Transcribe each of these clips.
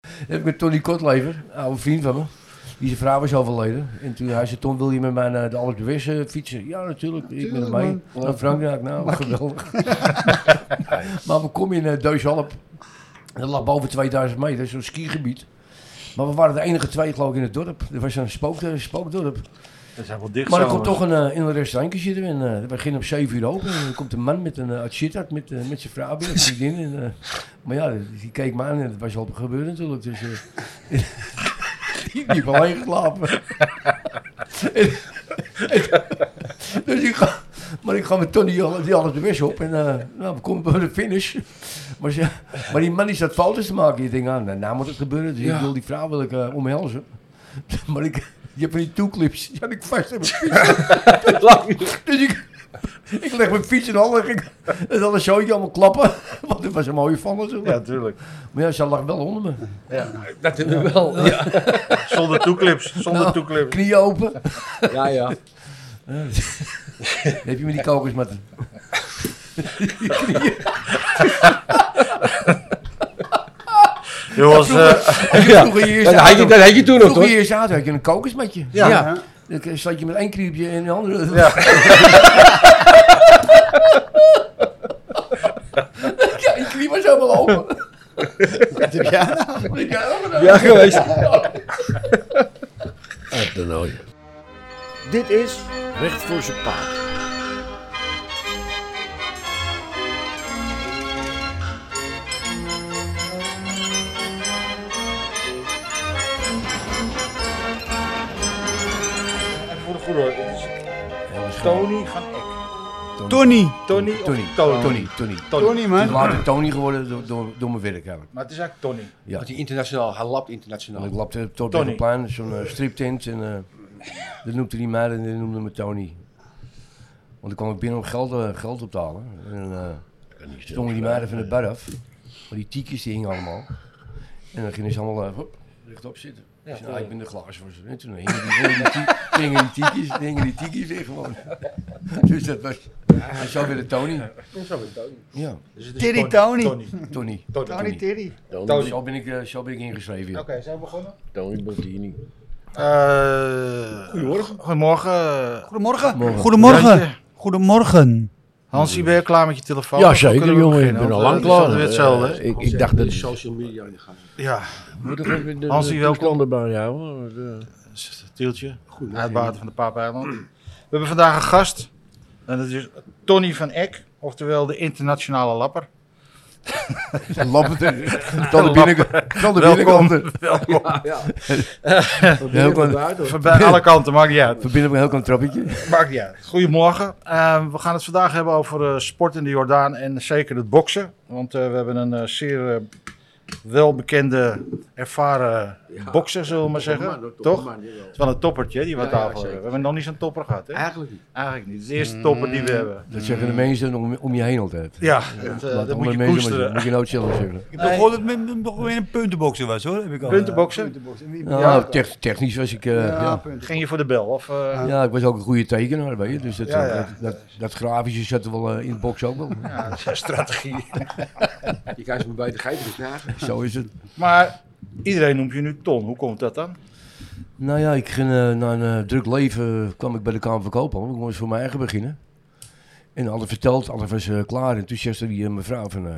heb ik Eh, met Tony Kotlever, een oude vriend van me. Die zijn vrouw was al verleden. En toen hij zei, Tom, wil je met mij naar de Albert de West eh, fietsen? Ja, natuurlijk. Ik ben Tuurlijk, mee. man. Naar Frankrijk, nou, geweldig. maar we komen in uh, Deuxhalp. Dat lag boven 2000 meter, zo'n skigebied. Maar we waren de enige twee, geloof ik, in het dorp. Er was een spook, eh, spookdorp. Dat zijn wel dicht Maar er zo, komt toch een, eh, in een restaurantje zitten. we En, eh, we beginnen om 7 uur open. En er komt een man met een uh, met, eh, met zijn vrouw binnen. zijn vriendin. En, eh, maar ja, die, die keek me aan en dat was al gebeurd natuurlijk. Dus eh, die die heeft alleen geslapen. En- en- dus ik ga, maar ik ga met Tony al- die alles de weg op. En eh, nou, we komen bij de finish. Maar, ze- maar die man die zat foto's te maken. Ik denk, ah, nou, nou moet het gebeuren. Dus ik wil die vrouw wil ik, eh, omhelzen. Maar ik, je hebt van die toeclips. Die had ik vast aan mijn fiets. dus ik, ik leg mijn fiets in handen. En dan hadden zootje allemaal klappen. Want het was een mooie van natuurlijk. Ja, tuurlijk. Maar ja, ze lag wel onder me. Natuurlijk wel. Ja, Zonder toeclips. Zonder Nou, toeclips. Knieën open. ja. ja. Dan heb je me die kokos met Jongens, eh, Als je Ja, vroeger je eerste Dat had je, auto- dat had je toen nog, vroeger hoor. je eerste auto had je een kokos met je. ja. Ja. Dan zat je met één kriepje en de andere. Ja. ja, je knie was helemaal open. Wat heb jij nou? Dat heb jij ook gedaan. Ja, geweest. Uit de nooi. Dit is Recht voor zijn paard. even voor de goede hoor. Het is Tony van Eck. Tony. Tony Tony, of Tony? Tony, Tony. Tony, Het is man. later Tony geworden door, door, door mijn werk eigenlijk. Maar het is eigenlijk Tony. Ja. Want die internationaal, hij lapt internationaal. En ik lapte op Nou. Tony. Torbeckplein, zo'n eh, striptent. En eh, dat noemde die mij en die noemde me Tony. Want ik kwam ik binnen om geld, eh, geld op te halen. En eh stonden die meiden van de bar af. Maar die tiekjes die hingen allemaal. En dan gingen ze allemaal eh, hop, rechtop zitten. Ik zei, ah, ik ben de glazen voor ze. En toen hingen die, hingen die, tie- hingen die tiekjes, hingen die tiekjes weer gewoon. dus dat was... En zo weer de Tony. Ja, Zo weer Tony. Ja, Dus het is Teddy Tony. Tony. Tony. Tony. Tony Terry. Tony, Tony. Zo ben ik, eh, zo ben ik ingeschreven. Oké, Ja. zijn we begonnen? Tony Bottini. goedemorgen. Eh, Goedemorgen. Goedemorgen. Morgen. Goedemorgen. Goedemorgen. Hans, je ben je klaar met je telefoon? Ja, Dan zeker kunnen we jongen. Ik beginnen, ben al want, lang eh, het klaar. is altijd weer hetzelfde. Eh, ik, ik dacht De dat... social media in de gang. hè? Ja, Moet ik even de, Hansie, de welkom. toestanden bij jou? want, eh, dat is het tieltje. Uitbaten van de Paapeiland. We hebben vandaag een gast. En dat is Tony van Eck. Oftewel de internationale lapper. eh, Lampert. Tante Binnenkomen. Tante Welkom. Binnenkomen. Welkom. heel klein- Van bij alle kanten, maakt niet uit. Verbinden we een heel klein trappetje. Maakt niet uit. Goedemorgen. Eh, we gaan het vandaag hebben over eh, sport in de Jordaan en zeker het boksen. Want eh, we hebben een eh, zeer eh, welbekende, ervaren bokser, zullen we maar zeggen. Toch? Het is wel een toppertje hè, die we aan Ja, ja, tafel hebben. zeker. We hebben nog niet zo'n topper gehad, hè? Eigenlijk niet. Eigenlijk niet. Het is de eerste topper die we hebben. Dat zeggen de mensen om, om je heen altijd. Ja, Laat dat, eh, dat moet andere je mensen maar koesteren. doen. Moet je nooit zelf zeggen. Ik heb nog gehoord dat het met- nog weer een puntenboksen was hoor. Heb ik al, Puntenboksen. Nou, tech- technisch was ik... eh, Ja, ja. punt. Ging je voor de bel? Of, eh, Ja. ik was ook een goede tekenaar, weet je. Dus dat, Ja, eh, ja. Dat, dat, dat grafische zat er wel eh, in het box ook wel. ja, strategie. Je kan ze me bij de geiten knagen. Zo is het. Maar iedereen noemt je nu Ton. Hoe komt dat dan? Nou ja, ik ging, eh, na een eh, druk leven eh, kwam ik bij de Kamer van Koophandel. Ik moest voor mijn eigen beginnen. En alles verteld, alles was eh, klaar. En toen zei ze die eh, mevrouw van, eh,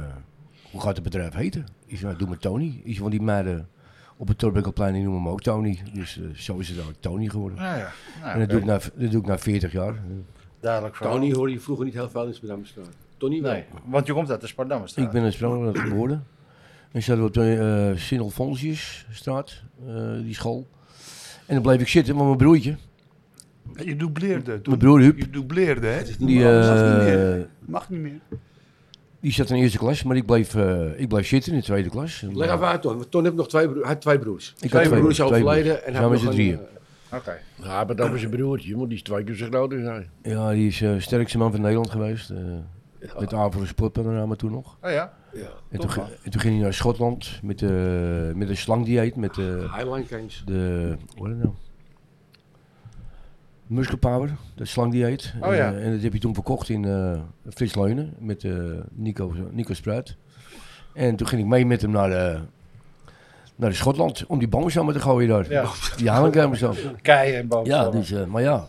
hoe gaat het bedrijf heten? Ik zei, nou, doe maar Tony. Ik zei, want die meiden op het Torbekkelplein, die noemen me ook Tony. Dus eh, zo is het ook Tony geworden. Nou ja, nou, en dat doe, ik na, dat doe ik na 40 jaar. duidelijk verhaal. Tony hoorde je vroeger niet heel veel in Amsterdam staan. Tony wel. Nee, want je komt uit de Spardammerstraat. Ik ben in Sprangen geboren. En zaten we op de eh Sint-Alfonsiusstraat, eh, die school. En dan bleef ik zitten, maar mijn broertje, Je dubleerde. mijn broer Huub, Je dubleerde, hè? die, eh, Mag niet meer. Die zat in de eerste klas, maar ik bleef, eh, ik bleef zitten in de tweede klas. En, Leg even uit Ton. Want Ton heeft nog twee, bro- had twee broers. Ik had twee twee broers broers, twee overleden. broers. Samen En hij had met nog z'n een, drieën. eh, Oké. Hij had het over zijn broertje, want die is twee keer zo groot als hij. ja, die is eh sterkste man van Nederland geweest. eh Met de Avro Sportpanorama toen nog. Oh ja? En toen, ge- en toen ging hij naar Schotland met, de met een slangdieet. Met de, Highline Kings. de hoe heet het nou? Muscle Power, dat slangdieet. Oh ja. en, eh, en dat heb je toen verkocht in eh Frits Leunen met eh, Nico, Nico Spruit. En toen ging ik mee met hem naar, de, eh, naar Schotland om die boomstammen te gooien daar. Ja. Die halenkamer zo. Keien en boven. Ja, dus, eh, maar ja.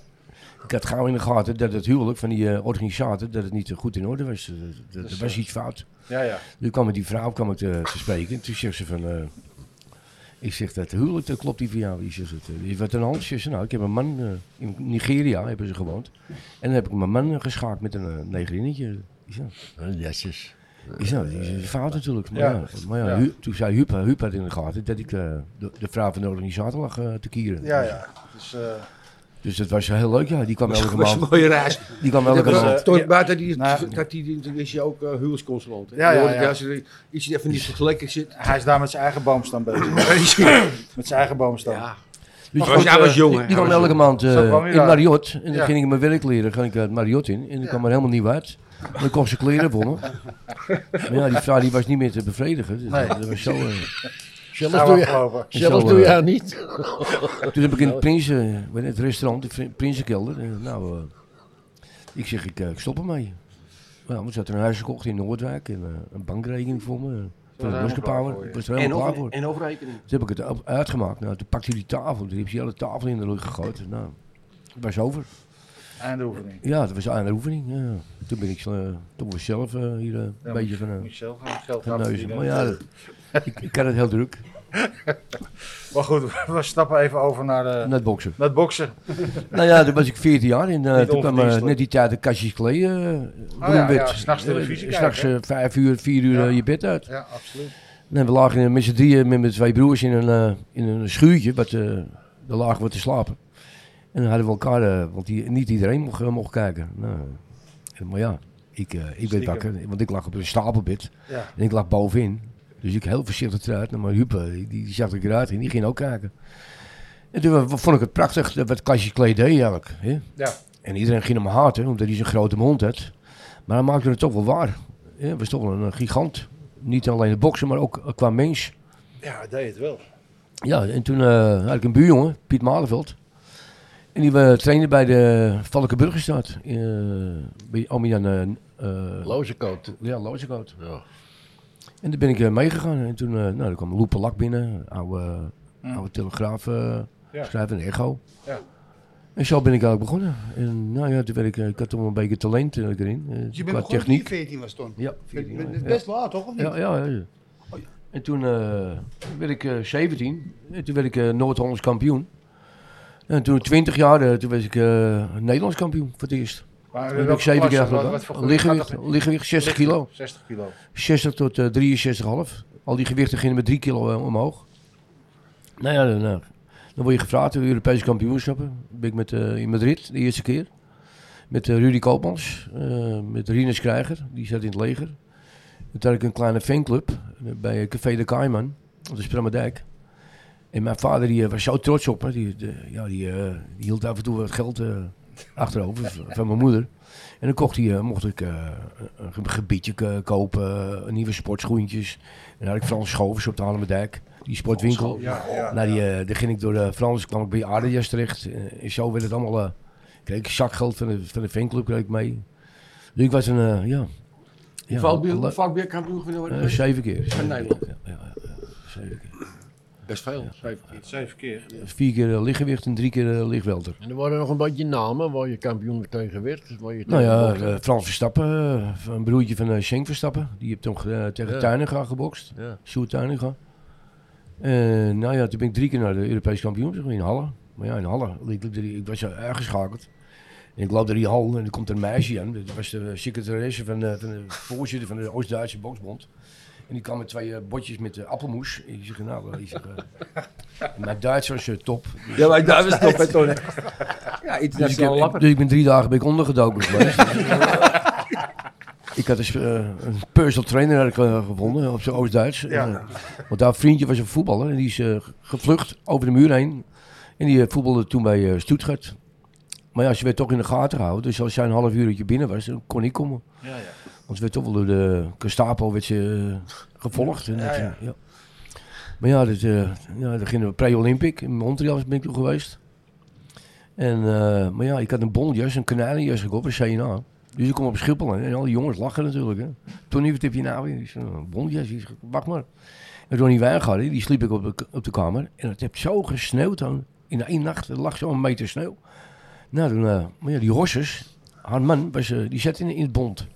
Ik had gauw in de gaten dat het huwelijk van die eh, organisator dat het niet eh, goed in orde was. Eh, dat- dat- Er was iets fout. ja, ja. Nu kwam ik die vrouw kwam ik te, te spreken. En toen zegt ze van... eh, ik zeg dat huwelijk, dat klopt die van jou. Ik zeg, het, eh, is wat een hand? Ze zegt, nou, ik heb een man eh, in Nigeria, hebben ze gewoond. En dan heb ik mijn man eh, geschaakt met een eh, negerinnetje. Ik zeg, Netjes. ik zeg, dat is een fout natuurlijk. Maar Ja. ja, maar ja, Ja. Hu- toen zei Huub, Huub had in de gaten dat ik eh, de, de vrouw van de organisator lag eh, te kieren. ja, ja. Dus, eh, Dus dat was heel leuk, ja. Die kwam elke Dat is een maand. mooie reis. Die kwam Dat elke was, maand. eh, Toon Baarten, die, Nou. dat die, die is je ook eh, huwelijksconsulant. hè? Ja, Je ja, hoort het, ja. Als er iets even niet zo lekker zit. hij is daar met zijn eigen boomstam bezig. met zijn eigen boomstam. Ja. Dus Maar goed, hij was jong. Die, hè? die Hij kwam was elke jong. maand eh, Zo kwam je in daar. Marriott. En dan Ja. ging ik mijn werk leren. ging ik het Marriott in. En ik kwam er helemaal niet uit. En dan kocht ze kleren voor me. Maar ja, die vrouw die was niet meer te bevredigen. Dus Nee. dat was zo, eh. Zelf Gaan doe, we je, afgelopen. Zo, zelf doe je eh, haar niet. Toen heb ik in het, prinsen, eh, weet je, het restaurant, de Prin- Prinsenkelder. eh, Nou, eh, ik zeg, ik, eh, ik stop ermee. Maar ja, we zaten een huis gekocht in Noordwijk. En eh, een bankrekening voor me. Voor de helemaal Muske klaar Power. voor je. Ik was er helemaal klaar En, voor. over, en overrekening. Toen heb ik het op- uitgemaakt. Nou, toen pakte hij die tafel. Toen heeft hij alle tafel in de lucht gegooid. Nou, het was over. Einde oefening. Ja, dat was aan de oefening. Ja. Toen ben ik eh, toch wel zelf eh, hier eh, een Ja, beetje van eh, Michel gaan geld gaan gaan neuzen. verdienen. Maar ja, dat- ik, ik had het heel druk. Maar goed, we stappen even over naar, de, Net boksen. naar het boksen. Nou ja, toen was ik 14 jaar en eh, Niet toen kwam eh, onverdienstelijk. net die tijd de kastjes klee. Uh, ja, ja, s'nachts televisie S'nachts eh, vijf uur, vier uur Ja. eh, je bed uit. Ja, absoluut. Nee, we lagen eh, met z'n drieën met mijn twee broers in een, eh, in een schuurtje. Wat, eh daar lagen we te slapen. En dan hadden we elkaar, eh, want die, niet iedereen mocht, eh, mocht kijken. Nou, eh, maar ja, ik, eh, ik werd Stiekem. wakker, want ik lag op een stapelbed. Ja. En ik lag bovenin. Dus ik heel voorzichtig eruit. Nou, maar Huub, eh, die, die zag ik eruit en die ging ook kijken. En toen eh, vond ik het prachtig eh, wat Kastje Klee deed eigenlijk. Hè? Ja. En iedereen ging hem haten, omdat hij zo'n grote mond had. Maar hij maakte het toch wel waar. Hè? Hij was toch wel een eh, gigant. Niet alleen de boksen, maar ook eh, qua mens. ja, hij deed het wel. Ja, en toen eh, had ik een buurjongen, Piet Malenveld. En die we trainde bij de Valkenburgerstraat. eh bij Almian eh Lozenkoot. ja, Lozenkoot. Ja. En daar ben ik eh, meegegaan. En toen eh, nou, er kwam Loepe Lak binnen, oude, Mm. oude telegraaf eh, Ja. schrijver en echo. Ja. En zo ben ik eigenlijk begonnen. En nou ja, toen werd ik, eh, ik had toch wel een beetje talent eh, erin. eh, Je qua bent begonnen toen je techniek. 14 was toen. Ja, Het 14 jaar, het is ja. best laat, toch? Of niet? Oh, Ja, ja, ja, ja. En toen eh, werd ik eh, 17. En toen werd ik eh, Noord-Hollands kampioen. En toen 20 jaar, eh, toen was ik eh, Nederlands kampioen voor het eerst. Maar Toen heb ik 7 keer gedaan. Lichtgewicht, lichtgewicht 60 kilo. 60 kilo. 60 tot eh, 63,5. Al die gewichten gingen met 3 kilo eh, omhoog. Nou ja, dan, eh, dan word je gevraagd door de Europese kampioenschappen. Dan ben ik met, eh, in Madrid de eerste keer. Met eh, Rudy Koopmans, eh, met Rinus Krijger, die zat in het leger. En toen had ik een kleine fanclub eh, bij Café de Kaiman, op de Sprammerdijk. En mijn vader die, eh, was zo trots op me. Die, de- ja, die, eh, die hield af en toe wat geld eh, achterover v- van mijn moeder. En dan kocht hij, eh, mocht ik eh, een een gebiedje k- kopen, eh, nieuwe sportschoentjes. En dan had ik Frans Schovers op de Halemerdijk, die sportwinkel. Ja, ja. Nou, die, eh, daar ging ik door de Frans, kwam ik bij Adidas terecht. Eh, en zo werd het allemaal. eh kreeg ik zakgeld van de, van de fanclub kreeg ik mee. Dus ik was een, eh, ja. ja Valkbeer, alle- Valkbeer kampioen geworden. eh, zeven keer. Van Nederland. Ja, ja, ja, ja, zeven keer. Best veel. zeven keer. 7 keer. Vier keer eh, lichtgewicht en drie keer eh, lichtwelter. En er waren nog een beetje namen waar je kampioen tegen werd. dus Waar je Nou tegen ja, bokste. eh, Frans Verstappen, eh, een broertje van eh Schenk Verstappen. Die heeft toen eh, tegen Ja. Tuiniga gebokst. Ja. Sjoerd Tuiniga. En nou ja, toen ben ik drie keer naar de Europese kampioenschap in Halle. Maar ja, in Halle. Ik, ik, ik was eh, uitgeschakeld. En ik loop door die hal en er komt een meisje aan. Dat was de secretaresse van, de- van de voorzitter van de Oost-Duitse Boksbond. En die kwam met twee eh, botjes met eh, appelmoes. En ik zeg, nou, eh, ik zeg, eh, mijn Duits was eh, top. Ja, maar daar was het toch bij Ja, Dus ik, internationaal heb- lapper. dus ik ben drie dagen ben ik ondergedoken geweest. ik had een, sp- eh, een personal trainer had ik, eh, gevonden op zijn Oost-Duits. Ja. En, eh, want daar vriendje was een voetballer en die is eh, gevlucht over de muur heen. En die eh, voetbalde toen bij eh, Stuttgart. Maar ja, ze werd toch in de gaten gehouden. Dus als zij een half uurtje binnen was, dan kon ik komen. Ja, ja. Want ze werd toch wel door de Gestapo werd ze, eh, gevolgd. En dat, Ja, eh, ja. ja. Maar ja, dat, eh ja, dan gingen we pre-Olympic. In Montreal ben ik toen geweest. En, eh, maar ja, ik had een bondjas, een kanalenjas gekocht bij CNA. Dus ik kom op Schiphol en, en al die jongens lachen natuurlijk. Hè. Toen, wat heb je nou weer? Ik zeg, "Nou, Een bondjas, Ik zeg, wacht maar. Ronnie Wijngaarden, die sliep ik op de, k- op de kamer. En het heeft zo gesneeuwd dan. In één nacht er lag zo'n meter sneeuw. Nou, toen, eh, maar ja, die Hossers, haar man, was, eh, die zat in, in het bond.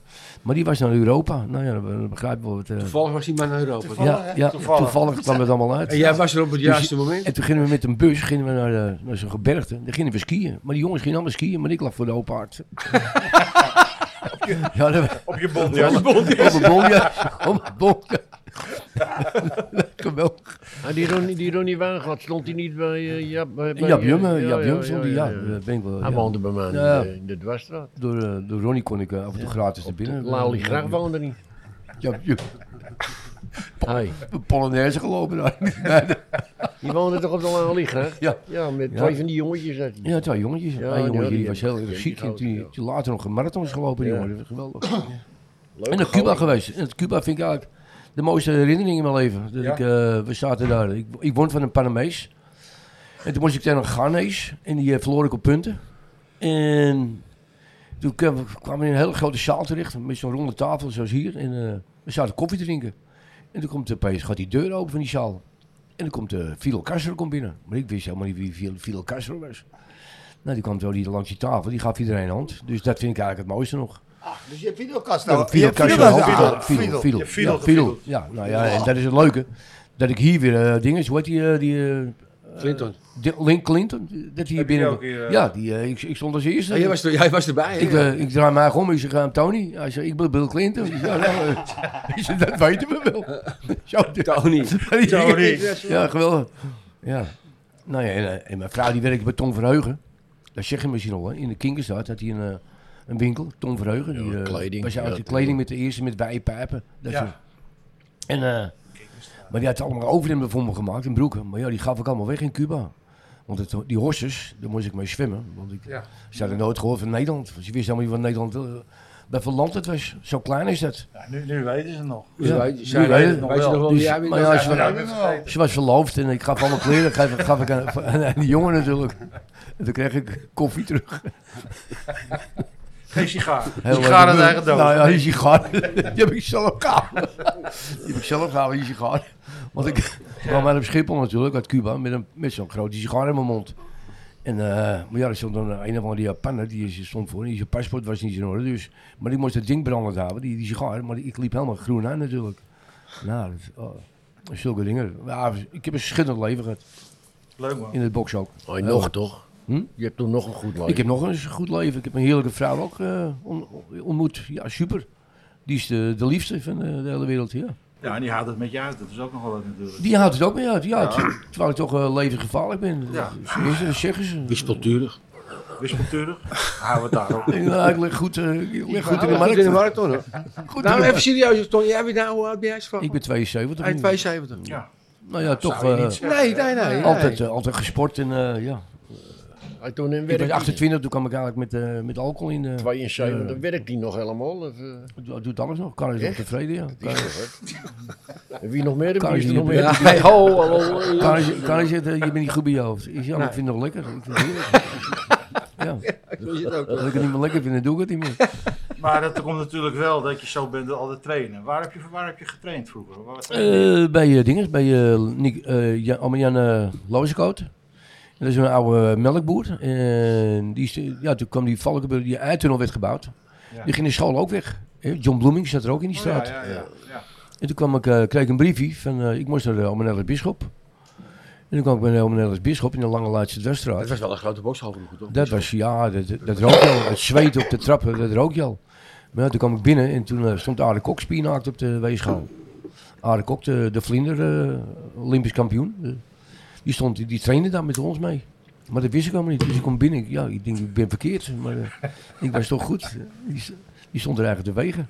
Maar die was naar Europa. Nou ja, dan dan begrijp je wel wat... eh, Toevallig was die man naar Europa. ja, ja, toevallig. Toevallig. kwam het allemaal uit. En jij was er Dus op het juiste moment. En toen gingen we met een bus gingen we naar, eh, naar zo'n gebergte. Daar gingen we skiën. Maar die jongens gingen allemaal skiën, maar ik lag voor de open haard. ja, dat, Op je bond, ja. op een bonkje. Op een bonkje. Geweldig. Ah, die Ronnie, die Ronnie Wijngaard, stond hij niet bij eh, Jap... bij- bij- Jap Jumme, ja, Jap ja, Jum ja, stond die, ja, ja. ja. dat ben ik wel. Hij ja. woonde bij mij in Ja. de- in de Dwarsstraat. Door, eh, door Ronnie kon ik eh, af en toe gratis naar binnen. Lali Gracht woonde niet. Jap Jum. Hij. Een Polonaise gelopen daar. Die woonde toch op de Lali Gracht? Ja. Ja, met Ja. twee van die jongetjes. had hij. Ja, twee jongetjes. Ja, die Eén jongetje die hadden- was heel die- erg die ziek. En gouden, die, ja. die later nog een marathon is gelopen, die Ja. jongen. Dat is geweldig. Leuke En naar Cuba gozer. geweest. En het Cuba vind ik eigenlijk de mooiste herinnering in mijn leven. Dat Ja. ik, eh, we zaten daar. Ik, ik woon van een Panamees. En toen moest ik tegen een Ghanese. En die eh, verloor ik op punten. En toen kwam kwamen we in een hele grote zaal terecht. Met zo'n ronde tafel zoals hier. En eh, we zaten koffie te drinken. En toen komt opeens, gaat die deur open van die zaal. En dan komt eh Fidel Castro komt binnen. Maar ik wist helemaal niet wie Fidel- Fidel Castro was. Nou, die kwam zo hier langs die tafel. Die gaf iedereen een hand. Dus dat vind ik eigenlijk het mooiste nog. Ach, dus je hebt videokast Ja, nou. Fidel je hebt Castro. videokast- Ah, ah, Fidel, Fidel. Je hebt Ja, Fidel Fidel. Ja, nou ja, en dat is het leuke. Dat ik hier weer eh dingen, hoe heet die, eh, die eh, Clinton. Di- Link Clinton, dat hij hier Heb je die binnen... ook hier, eh? Ja, die, eh, ik, ik stond als eerste. Ah, jij, was er, jij was erbij. hè? ik, eh, ik draai mij om, ik zeg, eh, Tony, hij zegt, ik ben Bill Clinton. Ik zeg, Ja, nou, eh, ik zeg, dat weten we wel. Zo, de- Tony. Tony. Ja, geweldig. Ja. Nou ja, en, eh, en mijn vrouw die werkt bij Tom Verheugen. Dat zeg je misschien al, hè. in de Kinkerstraat had hij een, eh, een winkel, Tom Verheugen. Die, Ja, eh, kleding. Was Ja, uit de kleding tuurlijk. met de eerste, met wijpijpen. Dat Ja. soort. En, eh, maar die had allemaal overhemden voor me gemaakt en broeken. Maar ja, die gaf ik allemaal weg in Cuba. Want het, die horses, daar moest ik mee zwemmen. Want ik, Ja. ze hadden nooit gehoord van Nederland. Ze wisten helemaal niet wat Nederland, eh, wat voor land het was. Zo klein is dat. Ja, nu, nu weten ze het nog. Dus Ja. wij- Nu zij- weet wij je ze het nog nog wel. wel. Dus- wie jij bent? maar ja, als je- Ja, Ja, ik ben het vergeten. Ze was verloofd en ik gaf allemaal kleren gaf, gaf ik aan, aan die jongen natuurlijk. En toen kreeg ik koffie terug. Geen sigaar. Heel Sigaren leuk. uit eigen doos. Nou ja, die sigaar. Die heb ik zelf gehaald. Die heb ik zelf gehaald, die sigaar. Want ik kwam uit op Schiphol natuurlijk, uit Cuba, met, een- met zo'n grote sigaar in mijn mond. En, eh, maar ja, er stond dan een of andere Japaner, die is- stond voor, en zijn paspoort was niet in orde. Dus, maar die moest dat ding brandend houden, die, die sigaar. Maar ik liep helemaal groen aan natuurlijk. Nou, dat, oh, zulke dingen. Ja, ik heb een schitterend leven gehad, Leuk man. in het box ook. Oh, nog toch? Hm? Je hebt toen nog een goed leven. Oh, Ik heb nog eens een goed leven. Ik heb een heerlijke vrouw ook eh, on- ontmoet. Ja, super. Die is de, de liefste van eh, de hele wereld. Ja. Ja, en die haalt het met je uit. Dat is ook nog wel leuk natuurlijk. Die houdt het ook mee uit. Ja, t- Terwijl ik toch eh, levensgevaarlijk ben. Ja. Zo is het, dat zeggen ze. Wispelturig. Wispelturig. Houden we het daarop. Ja, ik lig goed, eh, ik lig goed in de Ja, markt. in de marathon. hoor. Goed in Nou, de even markt. serieus, Tony. Jij bent nou, hoe oud ben jij? Ik ben 72. Eind nu. 72. Ja. Nou ja, toch Zou je niet eh, zeggen. Nee, nee, nee. altijd, eh, altijd gesport. En, eh, ja. Hij toen in Ik was werk. 28, toen kwam ik eigenlijk met, eh, met alcohol in. eh, 72, werkt hij nog helemaal? Of, eh, het doet alles nog. Kan is nog Echt? tevreden, ja. die is toch, hè? en wie nog meer? Kan Wie is je er niet nog meer? hebben. Hey, ho, hallo. Kan je, kan je zitten, je bent niet goed bij je hoofd. Ik zeg, Ja, maar ik vind het nog lekker. Ik vind het heerlijk. Ja. Zo is het ook. Als ik het niet meer lekker vind, dan doe ik het niet meer. Maar dat komt natuurlijk wel dat je zo bent altijd trainen. Waar heb je, waar heb je getraind vroeger? Waar was Eh, bij eh, dinges, bij eh, Nick, eh, Ja- Amman-Jan eh, Lozenkoot. Dat is een oude eh, melkboer. En die, is- ja, toen kwam die Valkenburg, die eitunnel werd gebouwd. Ja. Oh, Die ging de school ook weg. Hè, John Bloeming zat er ook in die straat. ja, ja, ja. En toen kwam ik, eh, kreeg ik een briefje van, eh, ik moest naar de Almanellis Bisschop. En toen kwam ik bij de Almanellis Bisschop in de Lange Leidse Het Dweststraat. was wel een grote boxhal voor me, goed toch? Dat was, ja, dat, dat- dat rook je al. Het zweet op de trappen, dat rook je al. Maar ja, toen kwam ik binnen en toen eh, stond Aarde Kok spiernaakt op de weegschaal. Aarde Kok, de, de vlinder, eh, Olympisch kampioen. eh, die, stond, die, die trainde daar met ons mee. Maar dat wist ik allemaal niet. Dus ik kom binnen. Ik- Ja, ik denk, ik ben verkeerd. Maar eh, ik was toch goed. Die, s- die stond er eigenlijk te wegen.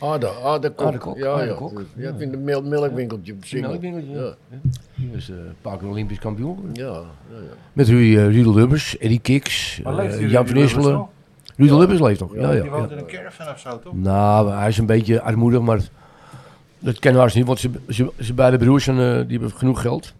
Ada, Ada ah, Kok. Ada Ah, Kok, Ja, Ada ja. Kok. Ja, in de mel- melkwinkeltje. Nou, Singel. ik denk dat- Ja. Die was eh, een paar keer Olympisch kampioen. geworden. Ja, ja, ja. Met Ruud, eh, Ruud Lubbers, Eddie Kiks, Maar eh, leefden jullie Jan van Lubbers Nisbelen. nog? Ruud Lubbers leeft nog. Ja, ja, Die ja. woont in een caravan of zo, toch? Nou, hij is een beetje armoedig, maar dat kennen we haast niet, want ze, ze, ze beide broers zijn, eh, die hebben genoeg geld.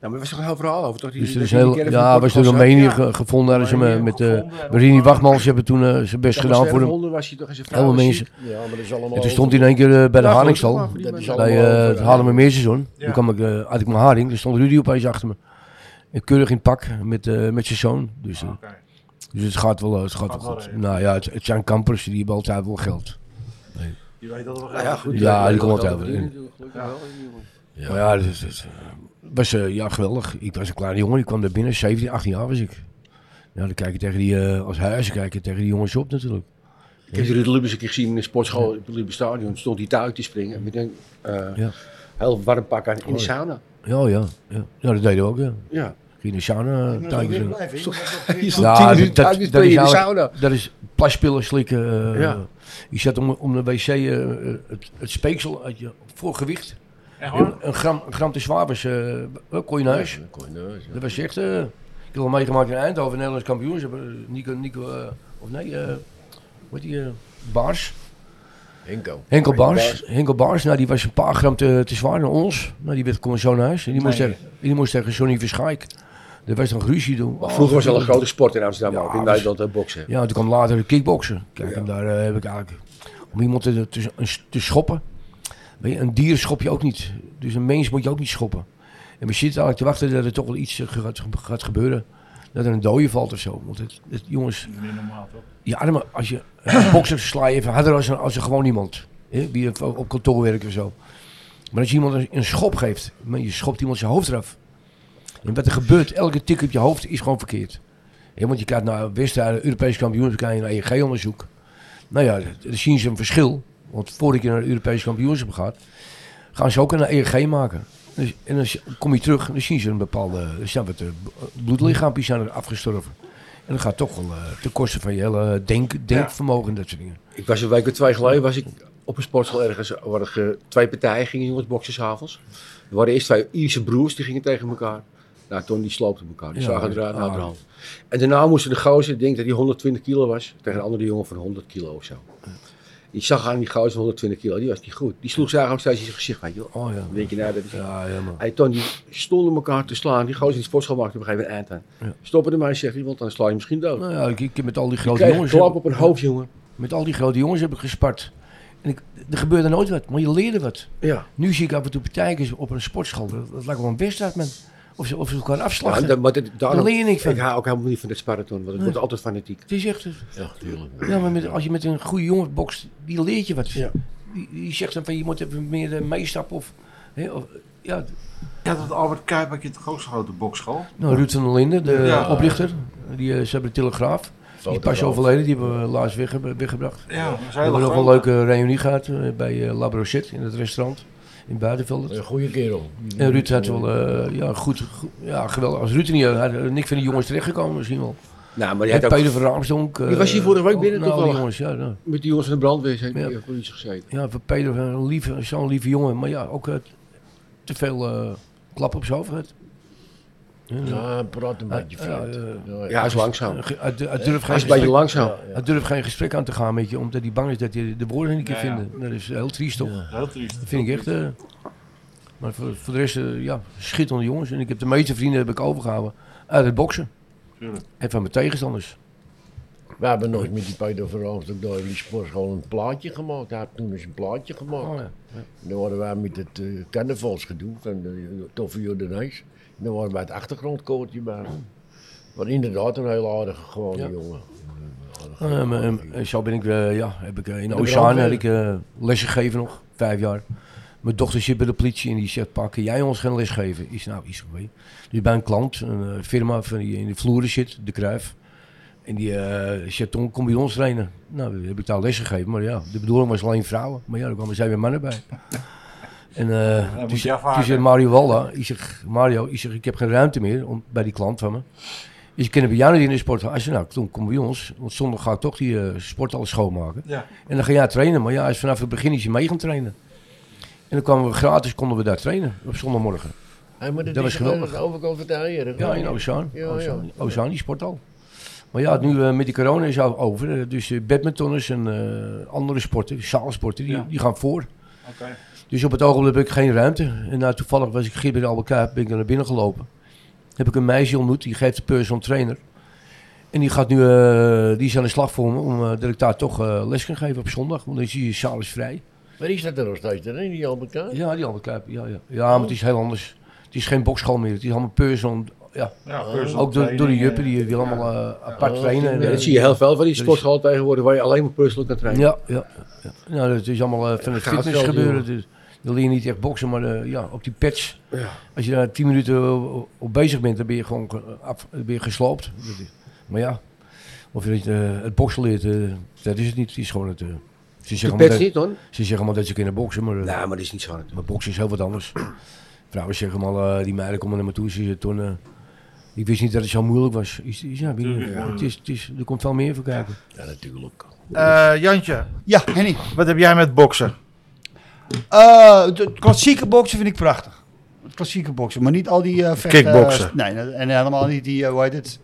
maar er was toch een heel verhaal over, toch? Die, Dus er die- is die heel, caravan ja, van was in Kossuth. Roemenië Ja. ge- gevonden. Hadden ze me, Roemenië met gevonden, eh en Marini allemaal- Wachtmans. Ze hebben toen eh, zijn best Ja, gedaan voor hem. zwerfhonden was hij toch en zijn vrouw Helemaal was ziek. mensen. Ja, maar dat is allemaal... En toen stond hij in één keer eh, bij de Ja, Haringstal. goed, Dat is maar- al- bij Allemaal eh over, het ja. Haarlemmermeerseizoen. Ja. Toen kwam ik, eh, had ik mijn haring, toen stond Rudy opeens achter me. En keurig in het pak met, eh, met zijn zoon. Dus, eh, Oké. dus het gaat wel, eh, het gaat Gaat wel wel goed. redelijk. nou ja, het, het zijn kampers, die hebben altijd wel geld. Je weet dat wel. Nou ja, goed. Ja, die dat- komt altijd dat- dat- wel in. natuurlijk, gelukkig wel, in ieder geval. Ja. Maar ja, het, het- het was eh, ja, geweldig. Ik was een kleine jongen, ik kwam daar binnen, 17, 18 jaar was ik. Ja, dan kijk je tegen die, eh, als huizen kijk je tegen die jongens op natuurlijk. Ik heb Ruud Lubbers een keer gezien in de sportschool op het Olympisch Stadion. Stond hij daar uit te springen met een eh, Ja. heel warm pak aan in de sauna. Ja, ja, ja. Ja, dat deden we ook, ja. Ja. Ging de sauna eh, tuintjes doen. Je stond tien Ja, dat, minuten dat, uit te dat is springen in de eigenlijk- sauna. dat is plaspillen slikken. eh, Ja. Je zet om, om de wc eh, het, het speeksel uit je voor gewicht. Een gram, een gram te zwaar was, eh, eh, kon je naar huis. Dat was echt, eh, ik heb al meegemaakt in Eindhoven, Nederlands kampioen. Ze hebben eh, Nico, Nico eh, of nee, eh hoe heet die, eh, Baars. Henko. Henkel Baars. Henkel Baars, nou die was een paar gram te, te zwaar naar ons. Nou die werd gewoon zo naar huis. En die, moest Nee. tegen, die moest tegen Johnny Verschaik. Er was nog ruzie doen. Maar vroeger was het al een grote sport in Amsterdam, Ja, ook in was- Nederland, hè, boksen. Ja, toen kwam later de kickboksen. Kijk, en daar eh, heb ik eigenlijk... Om iemand te, te, te schoppen. Weet je, een dier schop je ook niet. Dus een mens moet je ook niet schoppen. En we zitten eigenlijk te wachten dat er toch wel iets eh, gaat, gaat gebeuren. Dat er een dode valt of zo. Want het, het- jongens, Meer normaal toch? je armen, als je een bokser sla je even harder als een, als een gewoon iemand. Hè, die op op kantoor werkt of zo. Maar als je iemand een, een schop geeft, maar je schopt iemand zijn hoofd eraf. En wat er gebeurt, elke tik op je hoofd is gewoon verkeerd. Hè, want je kijkt naar wedstrijden, Europese kampioenschap, dan krijg je een EEG-onderzoek. Nou ja, dan zien ze een verschil. Want voordat je naar de Europese kampioenschap gaat, gaan ze ook een EEG maken. Dus, en dan z- kom je terug en dan zien ze een bepaalde, er zijn wat eh, b- bloedlichaampjes zijn er afgestorven. En dat gaat toch wel eh, ten koste van je hele denk, denkvermogen en dat soort dingen. Ik was een week of twee geleden was ik op een sportschool ergens. Er waren ge- twee partijen gingen jongens boksen s'avonds. Er waren eerst twee Ierse broers, die gingen tegen elkaar. Nou, toen die sloopten elkaar. Die Ja, zagen eruit ah. naar de hand. En daarna moesten de gozer, ik denk dat hij 120 kilo was, tegen een andere jongen van 100 kilo of zo. Die zag aan die gozer van 120 kilo, die was niet goed. Die sloeg zagen hem steeds in zijn gezicht, weet je wel. Oh ja. Dan denk je, nou, dat is... Ja, helemaal. Hey, Ton, die stonden elkaar te slaan. Die gozer in de sportschool maakte op een gegeven moment een eind aan. Ja. Stoppen ermee, zegt hij, want dan sla je misschien dood. Nou ja, ik, ik heb met al die grote Kreeg een jongens. klap op een hoofd, jongen. Met al die grote jongens heb ik gespart. En ik, er gebeurde nooit wat, maar je leerde wat. Ja. Nu zie ik af en toe partijkers op een sportschool. Dat, dat lijkt wel een wedstrijd, man. Of ze, of ze elkaar Ja, afslachten. dat, maar dat, daarom, leer je niks van. Ik hou ook helemaal niet van dat sparraton, want het wordt altijd fanatiek. Het is echt... het- Ja, tuurlijk. Ja, maar met, als je met een goede jongen bokst, die leert je wat. Ja. Die, die zegt dan van, je moet even meer eh, meestappen of... Hè, of ja, Ja, dat Albert Kuip had je toch ook zo'n grote bokschool? nou, Ruud van der Linden, de Ja. oprichter. Die, eh, ze hebben de Telegraaf. Die is pas Fotograaf. overleden, die hebben we laatst wegge- weggebracht. Ja, dat is We hebben nog een groot. leuke reunie gehad eh, bij eh La Brochette in het restaurant in Buitenveld. Een goede kerel. En Ruud had wel, eh, ja, goed, goed- ja, geweldig. Als Ruud er niet eh, had, had er niks van die jongens terechtgekomen misschien wel. Nou, maar Je je hebt ook Peter van Raamsdonk. eh, Die was hier vorige week al- binnen nou, die toevallig. jongens, ja, ja. met die jongens van de brandweer zijn Ja. die hebben politie gezeten. ja, voor Peter, eh, een lieve- zo'n lieve jongen. Maar ja, ook eh, te veel eh klap op zijn hoofd. gehad. Ja, hij praat een beetje Ja, eh, ja, vreemd. Ja, Ja, hij is langzaam. Ge- Hij hij durft Hij geen is een beetje gesprek- langzaam. hij durft geen gesprek aan te gaan met je, omdat hij bang is dat hij de woorden niet kan Ja, ja. vinden. Dat is heel triest toch? Heel triest. Dat vind ik echt. eh, maar voor, voor de rest, eh, ja, schitterende jongens. En ik heb de meeste vrienden heb ik overgehouden uit het boksen. Tuurlijk. En van mijn tegenstanders. We hebben nooit met die Peter Verhoogd ook daar in die sportschool een plaatje gemaakt. Hij heeft toen eens een plaatje gemaakt. Oh, ja. Dan waren wij met het eh carnavalsgedoe van de eh, Toffe Jordanees. En dan waren wij het achtergrondkoortje bij hem. Maar inderdaad een heel aardige gewone Ja. jongen. Ehm, ehm, en zo ben ik, eh, ja, heb ik eh, in Oceaan brandweer. heb ik, eh, les gegeven nog, vijf jaar. Mijn dochter zit bij de politie en die zegt, pakken jij ons geen les geven? Is nou iets geweest. Dus bij een klant, een eh, firma van die in de vloeren zit, de Kruif. En die eh, zegt, Tom, kom bij ons trainen. Nou, dan heb ik daar les gegeven, maar ja, de bedoeling was alleen vrouwen. Maar ja, er kwamen zij weer mannen bij. En eh, moet toen, je zei- afhaken. toen zei Mario Walla, ik zeg, Mario, ik, zeg, ik heb geen ruimte meer om, bij die klant van me. Dus ik ken bij jou niet in de sport. Hij zei, nou, Tom, kom bij ons. Want zondag ga ik toch die eh, sport alles schoonmaken. Ja. En dan ga jij trainen. Maar ja, hij is vanaf het begin is hij mee gaan trainen. En dan kwamen we gratis, konden we daar trainen op zondagmorgen. Hey, maar dat, Dat is was gewoon geweldig. aan de overkant van de eieren. Ja, nou in Ozaan. Ja, Ozaan, Ozaan, die sport al. Maar ja, nu eh, met die corona is al over. eh, dus eh, badmintonners en eh, andere sporten, zaalsporten, die, Ja. die gaan voor. Oké. Dus op het ogenblik heb ik geen ruimte. En nou, toevallig was ik gisteren bij de Albert Kuip, ben ik er naar binnen gelopen. heb ik een meisje ontmoet, die geeft de personal trainer. En die, gaat nu, eh, die is aan de slag voor me, om, eh, dat ik daar toch eh, les kan geven op zondag. Want dan is die zaal is vrij. Waar is dat er nog steeds? Er is niet al elkaar. Ja, die andere Kuip. Ja, ja. ja, maar het is heel anders. Het is geen bokschool meer. Het is allemaal personal. Ja. Ja, Eh, Ook door, door de juppen, die willen allemaal eh, apart trainen. En, Ja, eh, dat zie je heel veel van die sportschool tegenwoordig waar je alleen maar personal kan trainen. Ja, ja. ja. Nou, dat is allemaal eh, van het Gaat fitness geld, gebeuren. jongen. Dus dan leer je niet echt boksen, maar eh, ja, op die pads. Als je daar tien minuten eh, op, op bezig bent, dan ben je gewoon ge- af, dan ben je gesloopt. Dat is- Maar ja, of je het, eh, het boksen leert, eh, dat is het niet. Het is gewoon het... eh, ze, De zeggen maar pets dat, niet hoor. ze zeggen allemaal dat ze kunnen boksen, maar, eh, Nou, maar dat is niet zo hard. maar boksen is heel wat anders. Vrouwen zeggen allemaal, eh, die meiden komen naar me toe, ze zeggen, "Ton, eh, ik wist niet dat het zo moeilijk was. Is, is- ja, weet je, het is, het is, er komt veel meer voor kijken. Ja, natuurlijk. Eh, Jantje, Ja, Henny. wat heb jij met boksen? Eh, de klassieke boksen vind ik prachtig. Klassieke boksen, maar niet al die eh vechten- Kickboksen. Nee, en helemaal niet die, eh, hoe heet het?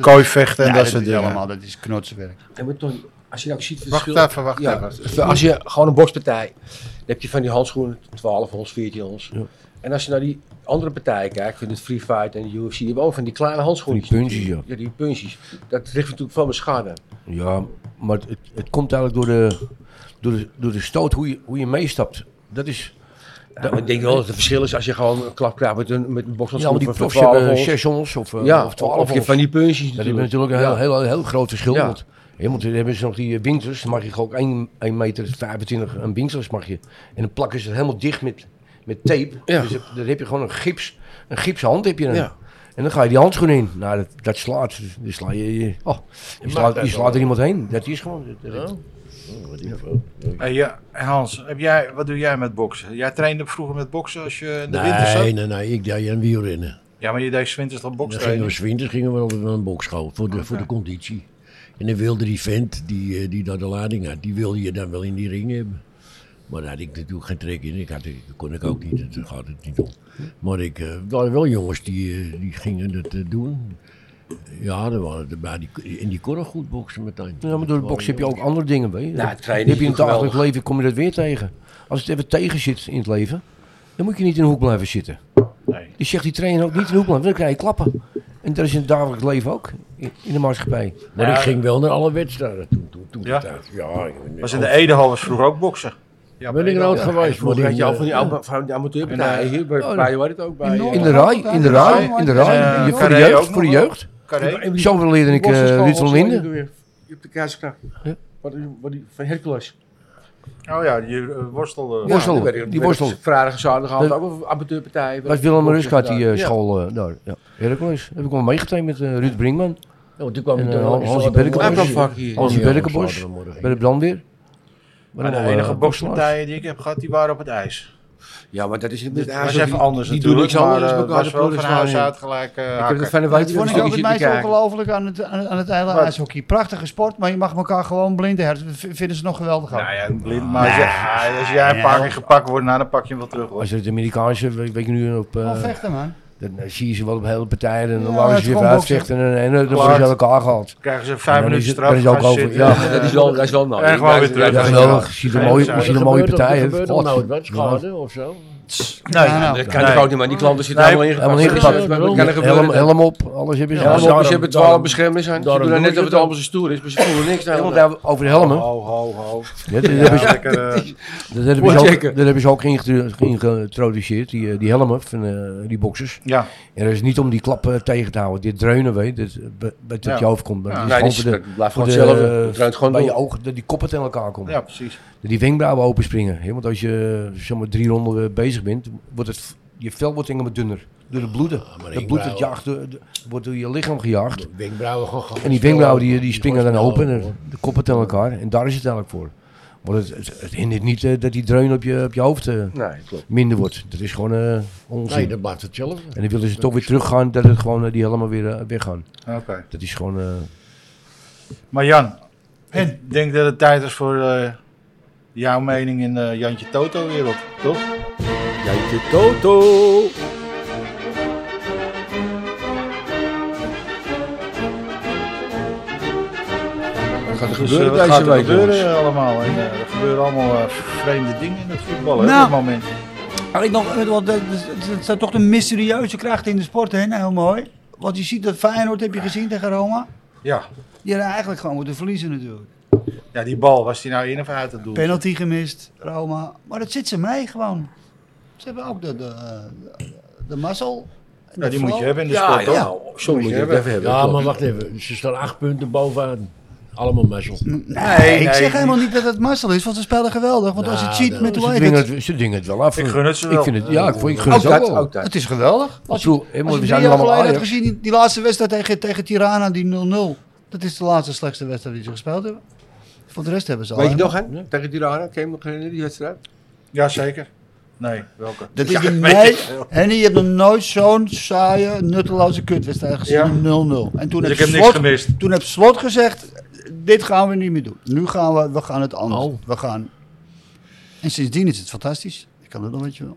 Kooivechten en Ja, dat soort is dingen. Helemaal, dat is knotsenwerk. En maar Ton, als je nou ook ziet het Wacht verschil- even, wacht ja, even. even. Als je gewoon een bokspartij, dan heb je van die handschoenen 12 ons, 14 ons. En als je naar die andere partijen kijkt, van het Free Fight en de UFC, die hebben ook van die kleine handschoenen. Van die punchies, ja. Ja, die punchies. Dat richt natuurlijk van mijn schade. Ja, maar het, het komt eigenlijk door de, door de, door de stoot, hoe je, hoe je meestapt. Dat is, Ja, maar ik denk wel dat het verschil is als je gewoon een klap krijgt met een, met een ja, want bokshandschoen die van profs 12 hebben ons. zes ons of, eh, Ja, of of twaalf ons. van die punchies Dat is natuurlijk een heel, heel, heel groot verschil. Ja. Want, hè, want dan hebben ze nog die eh, winters, dan mag je ook 1, 1 meter 25 een winters mag je. En dan plakken ze het helemaal dicht met, met tape. Ja. Dus dat- dan heb je gewoon een gips, een gipsen hand heb je dan. Ja. En dan ga je die handschoen in. Nou, dat, dat slaat. Dan sla je, je, oh, je, slaat, je slaat er iemand heen. Dat is gewoon. dat- dat- Hey, ja, Hans, heb jij, wat doe jij met boksen? Jij trainde vroeger met boksen als je in de winter zat? Nee, nee, nee. Ik deed aan wielrennen. Ja, maar je deed 's winters dan Dan boksen. gingen we zwinters gingen we altijd naar een bokschool voor Ah, de, voor de conditie. En dan wilde die vent die, eh, die daar de lading had, die wilde je dan wel in die ring hebben. Maar daar had ik natuurlijk geen trek in. Ik had, dat kon ik ook niet, daar gaat het niet om. Maar ik, eh, er waren wel jongens die, eh, die gingen dat eh, doen. Ja, er waren erbij. Die, en die konden goed boksen meteen. Ja, maar door de box heb je ook andere dingen, weet je. Nou, heb trainen je in is het geweldig. dagelijks leven, kom je dat weer tegen. Als het even tegen zit in het leven, dan moet je niet in een hoek blijven zitten. Nee. Dus zegt die trainer ook niet in een hoek blijven, dan krijg je klappen. En dat is in het dagelijks leven ook, in in de maatschappij. Maar ik ging wel naar alle wedstrijden toen. toen, toen Ja? tijd. ja ik- Was in de Edehal was vroeger ook boksen. Ja, ben ik er Edehal. oud geweest. Maar Vroeger had je in, al van die, eh, oude- van die eh, amateurpartijen. Hier bij, oh, bij, hoe heet het ook? Bij, eh, In de raai, in de raai, in de raai. Eh, Je- Voor de Carré jeugd, ook voor de nog wel? jeugd. Carré? Zo leerde ik eh Ruud van Linden. Je hebt de keizerskracht. Ja. Wat, wat die, van Hercules. Oh ja, die eh, worstelde. Ja. Worstel, dan werd ik- die werd ik worstel. Vrijdag en zaterdag Dat- hadden we ook een amateurpartij. Dat was Willem Rusk had die eh, Ja. school eh, daar. Ja. Hercules. Heb ik wel meegetraind met eh, Ruud Brinkman. Ja, want toen kwam En, ik eh, daar Hansie zaterdag- Berkenbos. Hij kwam vaak hier. Hansie Ja, Berkenbos. zaterdagmorgen. Bij de brandweer. Eh, Maar Maar de enige bokspartijen die ik heb gehad, die waren op het ijs. Ja, maar dat is niet Dat was even anders Die doen natuurlijk, niks anders. maar eh, dan elkaar de was wel van ploeg huis slaan. uit gelijk eh, Ik heb hakken. het fijne Dat wijntje vond ik een ook het stukje meest zitten kijken. ongelooflijk aan het, aan, aan het hele Wat? ijshockey. Prachtige sport, maar je mag elkaar gewoon blind hersen. Dat v- vinden ze nog geweldig aan. Nou ja, blind, maar als, jij- als jij een paar keer gepakt wordt, nou, dan pak je hem wel terug hoor. Als je het Amerikaanse, weet weet je nu, op, eh, Gewoon vechten, man. dan eh, zie je ze wel op hele partijen en dan Oh, Ja, laten het ze zich gewoon uitvechten en, eh, en, en dan worden ze Klaar. elkaar gehaald. krijgen ze vijf dan minuten is het- straf. dan is het ook gaan over. zitten. Ja, Ja, dat is wel, dat is wel nou. En gewoon weer terug. Ja, Ja, geweldig. Je ziet er Ja, mooie, ja, je ziet Er er mooie gebeurt- er partijen. gebeurt nog God. nooit wat, schade nou of zo. Nee, ja, nou. Dat kan ik ook niet, maar die klanten zitten Nee, helemaal ingepakt. Helemaal Dat is- ingepakt. dat kan er Helm, gebeuren. helm op, alles hebben ze. Ja, Ja, ze daarom- hebben daarom- twaalf beschermers aan. Ze daarom doen doen net alsof ze het dat. allemaal zo stoer is, maar ze voelen niks. de hele helemaal dag. daar over de helmen. Ho, ho, ho. Ja, dat, Ja, hebben ze, lekker, eh, dat, hebben ze ook, checken. dat hebben ze ook ingetu- geïntroduceerd, die, eh, die helmen van eh, die boxers. ja. En dat is niet om die klappen eh, tegen te houden. Dit dreunen, weet je, dat, eh, bij- bij tot Ja. je hoofd komt. Maar Ja. het is Nee, gewoon dat is- voor de- dat blijft voor gewoon de, hetzelfde. eh, Het ruimt gewoon bij je door. ogen, dat die koppen tegen elkaar komen. ja, precies. Dat die wenkbrauwen openspringen. Hè? Want als je zeg maar, drie ronden eh, bezig bent, wordt het, je vel wordt helemaal dunner. Door de bloeden. dat bloed dat wenkbrauwen. jaagt, door- de- wordt door je lichaam gejaagd. Wenkbrauwen gewoon gaan En die wenkbrauwen die, die gaan springen dan snel open en hoor. er- de koppen tegen elkaar. En daar is het eigenlijk voor. Maar het, het, het hindert niet eh, dat die dreun op je, op je hoofd eh, Nee, klopt. minder wordt. Dat is gewoon eh, onzin. Nee, dat blijft hetzelfde. En dan willen ze toch weer teruggaan, dat het gewoon, eh, die helemaal weer eh, weggaan. Oké. Dat is gewoon... eh, Maar Jan, ik denk dat het tijd is voor eh, jouw mening in eh, Jantje Toto weer op, toch? Jantje Toto. Wat gaat Dus er eh, gebeuren wat gaat deze er week, gebeuren jongens? allemaal? En, eh, er gebeuren allemaal eh, vreemde dingen in het voetbal hè, Nou. op dit moment. eh, dus, Maar ik nog, het, het, het staat toch een mysterieuze kracht in de sport, hè? Nou, heel mooi. Want je ziet dat Feyenoord, heb je gezien tegen Roma? Ja. Die hadden eigenlijk gewoon moeten verliezen natuurlijk. ja, die bal, was die nou in of uit het doel? Penalty gemist, Roma. Maar dat zit ze mee gewoon. Ze hebben ook de, de, de, de mazzel. en Ja, de die moet je flow. hebben in de Ja, sport, ja. toch? Zo moet je het hebben. even hebben. Ja, klopt. maar wacht even. Ze staan acht punten bovenaan. Allemaal mazzel. Nee, ik nee, zeg niet. helemaal niet dat het mazzel is, want ze spelen geweldig. Want als je het Nou, ziet dat- met hoe Ze heet dingen het... het, ze dingen het wel af. Ik gun het ze wel. Ik vind het, ja, ik, vond- ik gun Ook het dat, ook wel. ook dat. Het is geweldig. Als je, Als helemaal, je we drie zijn jaar allemaal geleden had Ajax. gezien, die, die laatste wedstrijd tegen, tegen Tirana, die 0-0. Dat is de laatste slechtste wedstrijd die ze gespeeld hebben. Voor de rest hebben ze al. Weet je helemaal- nog, hè? Tegen Tirana, kan je me nog herinneren, die wedstrijd? Ja, zeker. Nee, welke? Dat is de meest... Henny, je hebt nog nooit zo'n saaie, nutteloze kutwedstrijd Ja. gezien. 0-0. En toen Dus heb ik heb niks Slot- gemist. Toen heb Slot gezegd, dit gaan we niet meer doen. Nu gaan we, we gaan het anders. We gaan... En sindsdien is het fantastisch. Ik kan het nog, weet je wel.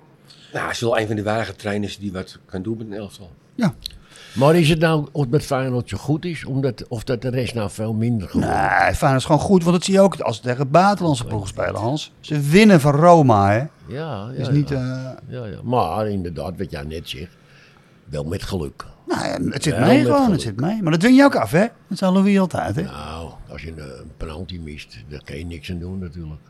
Nou, hij is wel een van de weinige trainers die wat kan doen met een elftal. Maar is het nou of met Feyenoord zo goed is, omdat, of dat de rest nou veel minder goed is? Nee, Feyenoord is gewoon goed, want dat zie je ook als ze tegen buitenlandse ploegen spelen, Hans. Ze winnen van Roma, hè. Ja, ja, Dus ja, niet... eh, ja, ja. Maar inderdaad, wat jij net zegt, wel met geluk. nou ja, het zit Ja, mee met gewoon, het geluk. zit mee. Maar dat dwing je ook af, hè. Dat zou Louis altijd, hè. Nou, als je een, een penalty mist, daar kan je niks aan doen natuurlijk.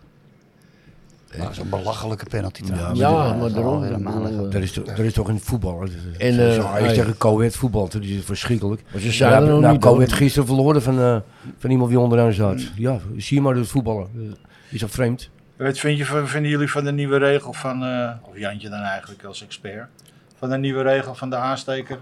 Nou, Zo'n belachelijke penalty trouwens. Ja, Dat is maar al daarom. helemaal niet. Dat is, toch, dat is toch in het voetbal. En, En, uh, eh, Ajax ah, ja. tegen Coët voetbal, dat is verschrikkelijk. Maar ze zijn er nog nou, niet, Coët hoor. gisteren verloren van, eh, van iemand die onderaan zat. Ja, zie je maar dus voetballen. Eh, is dat vreemd? Wat vind je, van- vinden jullie van de nieuwe regel van, eh, of Jantje dan eigenlijk als expert, van de nieuwe regel van de aansteker,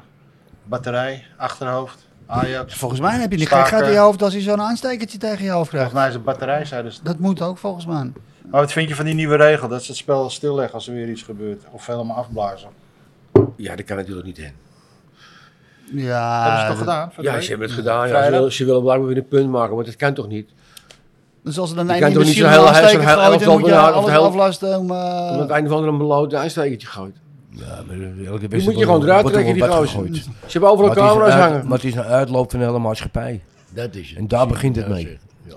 batterij, achterhoofd, Ajax? Volgens mij heb je die Staker. gek uit je hoofd als je zo'n aanstekertje tegen je hoofd krijgt. Volgens mij is het batterij, zeiden ze. Dat moet ook volgens mij. Maar wat vind je van die nieuwe regel, dat ze het spel stilleggen als er weer iets gebeurt, of helemaal afblazen? Ja, dat kan natuurlijk niet heen. Ja, Hebben ze toch dat- gedaan? van de Ja, week? ze hebben het gedaan. Ja, ze, Vrijdag? willen, ze willen blijkbaar weer een punt maken, want dat kan toch niet? Dus als er Je kan dan een toch niet misschien zo'n een hele- aansteker zo'n hele gooit, dan elftal moet je benaderen of alles de hele- aflasten om... eh, Omdat het einde van de beloot een aanstekertje gooit. Ja, maar elke Die moet je gewoon eruit trekken, die gozer. Ze hebben overal Maar het, camera's is een uit, hangen. maar het is een uitloop van de hele maatschappij. Dat is het. En daar begint het Ja, mee. zeg. Ja.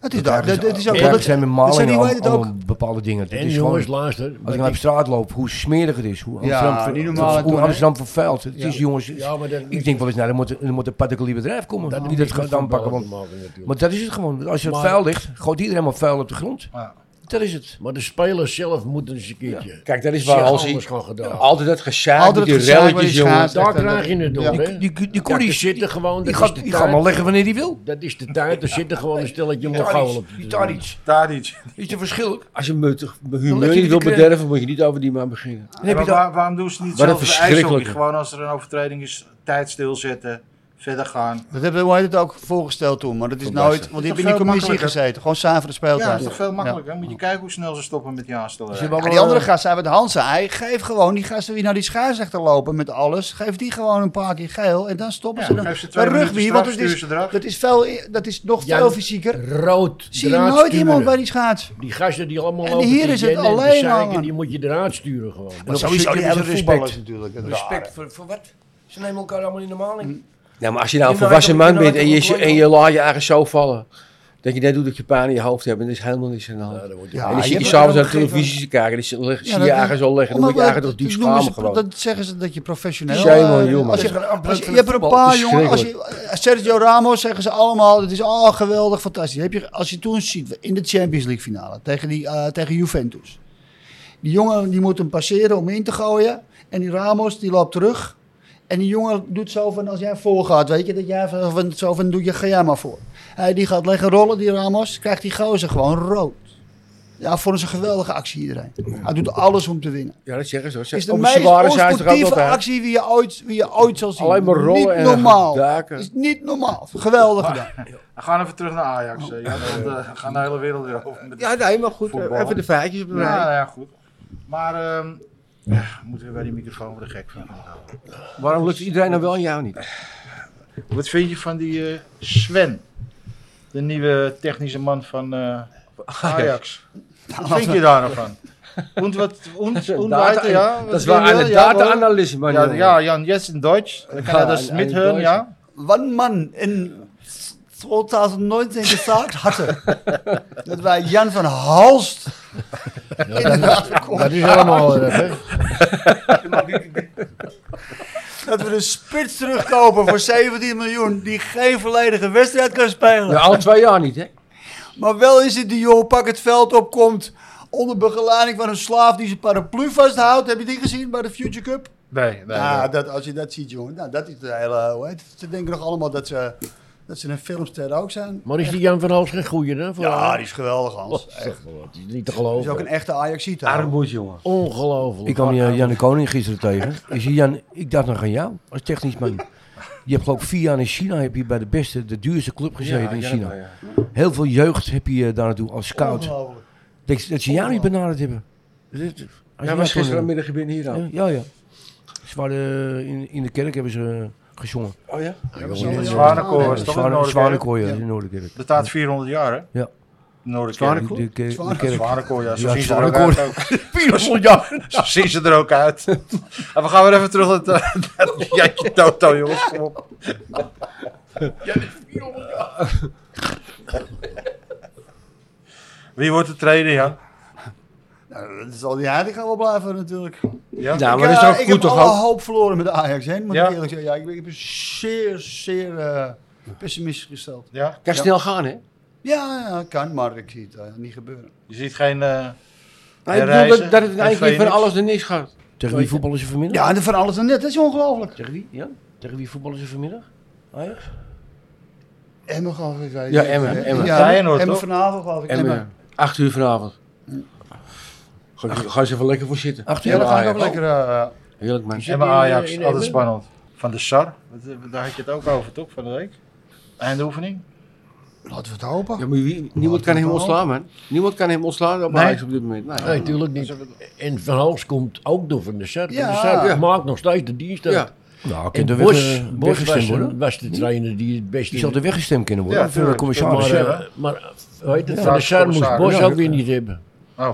Het is daar, dat- dat is ook... Ja, wel- er zijn met dat zijn die, malingen hoe heet het al- ook? allemaal bepaalde dingen. Dat En is gewoon, jongens, luister. als wat ik nou op ik- straat loop, hoe smerig het is. Hoe Ja, Amsterdam, ver- niet normaal, hè, hoe toen, hè? Amsterdam vervuilt. Het Ja. is jongens, Ja, maar dat- ik denk wel eens, nou, er moet, er moet een particulier bedrijf komen die dat gaat aanpakken. Want, maar maar, dat is het gewoon. Als je Maar- vuil ligt, gooit iedereen maar vuil op de grond. Ja. Dat is het. maar de spelers zelf moeten eens een keertje. Kijk, dat is waar Alles Hansie gewoon gedaan. altijd dat gezaak met Altijd die het gezeik waar relletjes, die jongen. schaats- daar krijg je het door, Die, hè? die, die, die Kijk, er koelies, die, zitten gewoon... die dat gaat, is de die gaat maar tijd. leggen wanneer die wil. Dat is de tijd. Er zitten gewoon een stelletje Mongolen op. Tadic, de die tribune. Tadic. Daar iets. Is er verschil? Als je me te- mijn Dan leg humeur je niet wil die kle- bederven, moet je niet over die man beginnen. Dan heb je Maar dat- waar- waarom doen ze niet Wat een zelf bij ijshockey? verschrikkelijke. Gewoon als er een overtreding is, tijd stilzetten, verder gaan. Dat hebben we hoe heet het ook voorgesteld toen, maar dat is nooit... Want die toch hebben in die veel commissie makkelijker? gezeten. Gewoon samen de Ja, dat is speeltijd. toch veel makkelijker. Moet je kijken hoe snel ze stoppen met die aanstellen. ze hebben Ja, die allemaal, andere eh, gast, hij met Hansen, hij geeft gewoon die gasten die naar die schaarsrechter lopen met alles. Geef die gewoon een paar keer geel en dan stoppen Ja, ze dan. geef ze twee Bij minuten rugby, straf, want het stuur is, ze eraf. dat is, veel, dat is nog Ja, veel fysieker. Rood. Zie je draad nooit sturen. iemand bij die schaats. Die gasten die allemaal En lopen hier te is het jennen en te alleen maar, zeiken, man. Die moet je eruit sturen gewoon. Maar Sowieso die hebben respect. respect. natuurlijk. het Respect rare. voor, voor wat? Ze nemen elkaar allemaal in de maling. Nou, maar als je nou een Je volwassen maakt- man je bent maakt en ook je, een en je laat je eigen zo vallen. Dat je net doet dat je pijn in je hoofd hebt en dat is helemaal niks aan de hand. Ja, en dan je zit je hebt- s'avonds aan de ook geen- televisie te kijken, dan zie leg- zie Ja, je dat- je eigen zo leggen. Dan Maar moet je eigen dat- toch diep dat noemen ze schamen pro- gewoon. Dat zeggen ze dat je professioneel... Shame on eh, you, man. Als je, Dat is een als je, afbreuk je hebt er een van het paar voetbal. jongen... Als je, eh, Sergio Ramos zeggen ze allemaal, dat is al geweldig, fantastisch. Heb je, als je toen ziet in de Champions League finale tegen, die, eh, tegen Juventus. Die jongen die moet hem passeren om in te gooien. En die Ramos die loopt terug. En die jongen doet zo van, als jij voorgaat, weet je, dat jij van, zo van, doe je, ga jij maar voor. Hij die gaat leggen rollen, die Ramos, krijgt die gozer gewoon rood. Ja, vonden ze een geweldige actie iedereen. Hij doet alles om te winnen. Ja, dat zeggen ze. hoor. Ze- Is de om meest zware zijn ze er altijd onsportieve aan. actie die je ooit, die je ooit zal zien. Alleen maar rollen niet en normaal. daken. Is niet normaal. Geweldig gedaan. We gaan even terug naar Ajax. Oh. eh, Ja, want eh, we gaan de hele wereld weer over. Met Ja, nee, maar goed. eh, Voetbal. Even de feitjes op de nou, rij. nou ja, goed. Maar ehm, ja, moeten we bij die microfoon voor de gek van. Waarom lukt iedereen nou wel en jou niet? Wat vind je van die eh, Sven? De nieuwe technische man van eh, Ajax. Wat vind je daar nou van? Und wat, und, und weiter, ja? dat Wat is wel vind een je? Ja, hoor. data-analyse, man. Ja, jongen. ja, Jan, jetzt in Deutsch. Dann kann Ja, er das in- in mithören, Deutsch. ja? Wann man in 2019 gesagt hatte, dat wij Jan van Halst Dat is helemaal erg, hè? dat we een spits terugkopen voor 17 miljoen die geen volledige wedstrijd kan spelen. Nou, al twee jaar niet, hè? Maar wel is het die jongen pak het veld op, komt onder begeleiding van een slaaf die zijn paraplu vasthoudt. Heb je die gezien bij de Future Cup? Nee, nee. Ja, nee. dat, als je dat ziet, jongen, nou, dat is de hele. Hoe heet het? Ze denken nog allemaal dat ze, dat ze een filmster ook zijn. Maar is die Jan van Hals geen goeie, hè? Voor Ja, haar? die is geweldig, Hans. Dat is Echt. toch wel wat, die is niet te Dat is ook geloven. een echte Ajaxiet. Armoed, jongen. Ongelooflijk. Ik kwam Jan, Jan de Koning gisteren tegen. Ik, zei, Jan, ik dacht nog aan jou, als technisch man. Je hebt geloof ik vier jaar in China, heb je bij de beste, de duurste club gezeten in China. Heel veel jeugd heb je eh, daar naartoe als scout. Ongelooflijk. Dat, dat ze jou niet benaderd hebben. Dat- als je Ja, jou was kon- gisterenmiddag je binnen hier aan. Ja, ja. Ze waren, eh, in, in de kerk hebben ze eh, gezongen. Oh ja? Zwanenkoor was toch Zwane- een Zwanenkoor, ja, Ja. in Noorderkerk. Bestaat 400 jaar, hè? Ja. Noorderkerk. De, de, ke- de Zwane- kerk. Zwanenkoor, ja. Zo Ja, zien ze er ook uit. ook. 400 jaar. Zo zien ze er ook uit. En we gaan weer even terug naar het, eh, naar het jatje Toto, jongens. Kom op. Wie wordt de trainer, ja? Nou, dat zal die Heidig gaan wel blijven, natuurlijk. Ja, Nou, ik, maar dat eh, is ook ik goed heb toch alle ook? hoop verloren met de Ajax heen. Moet Ja. ik eerlijk zeggen. Ja, ik, ben- ik ben zeer, zeer eh, pessimistisch gesteld. ja. Kan snel gaan, hè? Ja, ja, kan, maar ik zie het eh, niet gebeuren. Je ziet geen... eh, Nou, ik En bedoel reizen, dat, dat het in en één keer van Phoenix. alles en niks gaat. Tegen wie voetballen ze vanmiddag? Ja, en van alles en net. Dat is ongelooflijk. Tegen wie? Ja? Tegen wie voetballen ze vanmiddag? Ajax? Emmen, geloof ik. weet ik Ja, niet. Emmen, Emmen. Ja, Feyenoord, Emmen toch? vanavond, geloof ik. En Emmen. eh, acht uur vanavond. Ga, ga ze even lekker voor zitten. Acht uur? Ja, dan ga ik Ajax. ook lekker... eh, Heerlijk, man. Emma Ajax, altijd spannend. Van de Sar, wat, eh, daar had je het ook over, toch, van de week? Eindoefening? laten we het hopen. Ja, maar wie- niemand kan hem wel. ontslaan, man. Niemand kan hem ontslaan op Nee. Ajax op dit moment. Nee. Nee, tuurlijk niet. En Van Hals komt ook door Van de Sar. Ja. Van de Sar Ja. maakt nog steeds de dienst uit. Ja. Nou, En kan er Bos, weg, eh, Bos weggestemd was, worden? was de trainer die het beste... Die zou er weggestemd kunnen worden. Ja, voor de tuurlijk. commissaris. maar, Ja, eh, maar eh, hoe heet het, Van de Raad van Sar moest commissarissen. Bos Ja. ook weer niet hebben. Oh,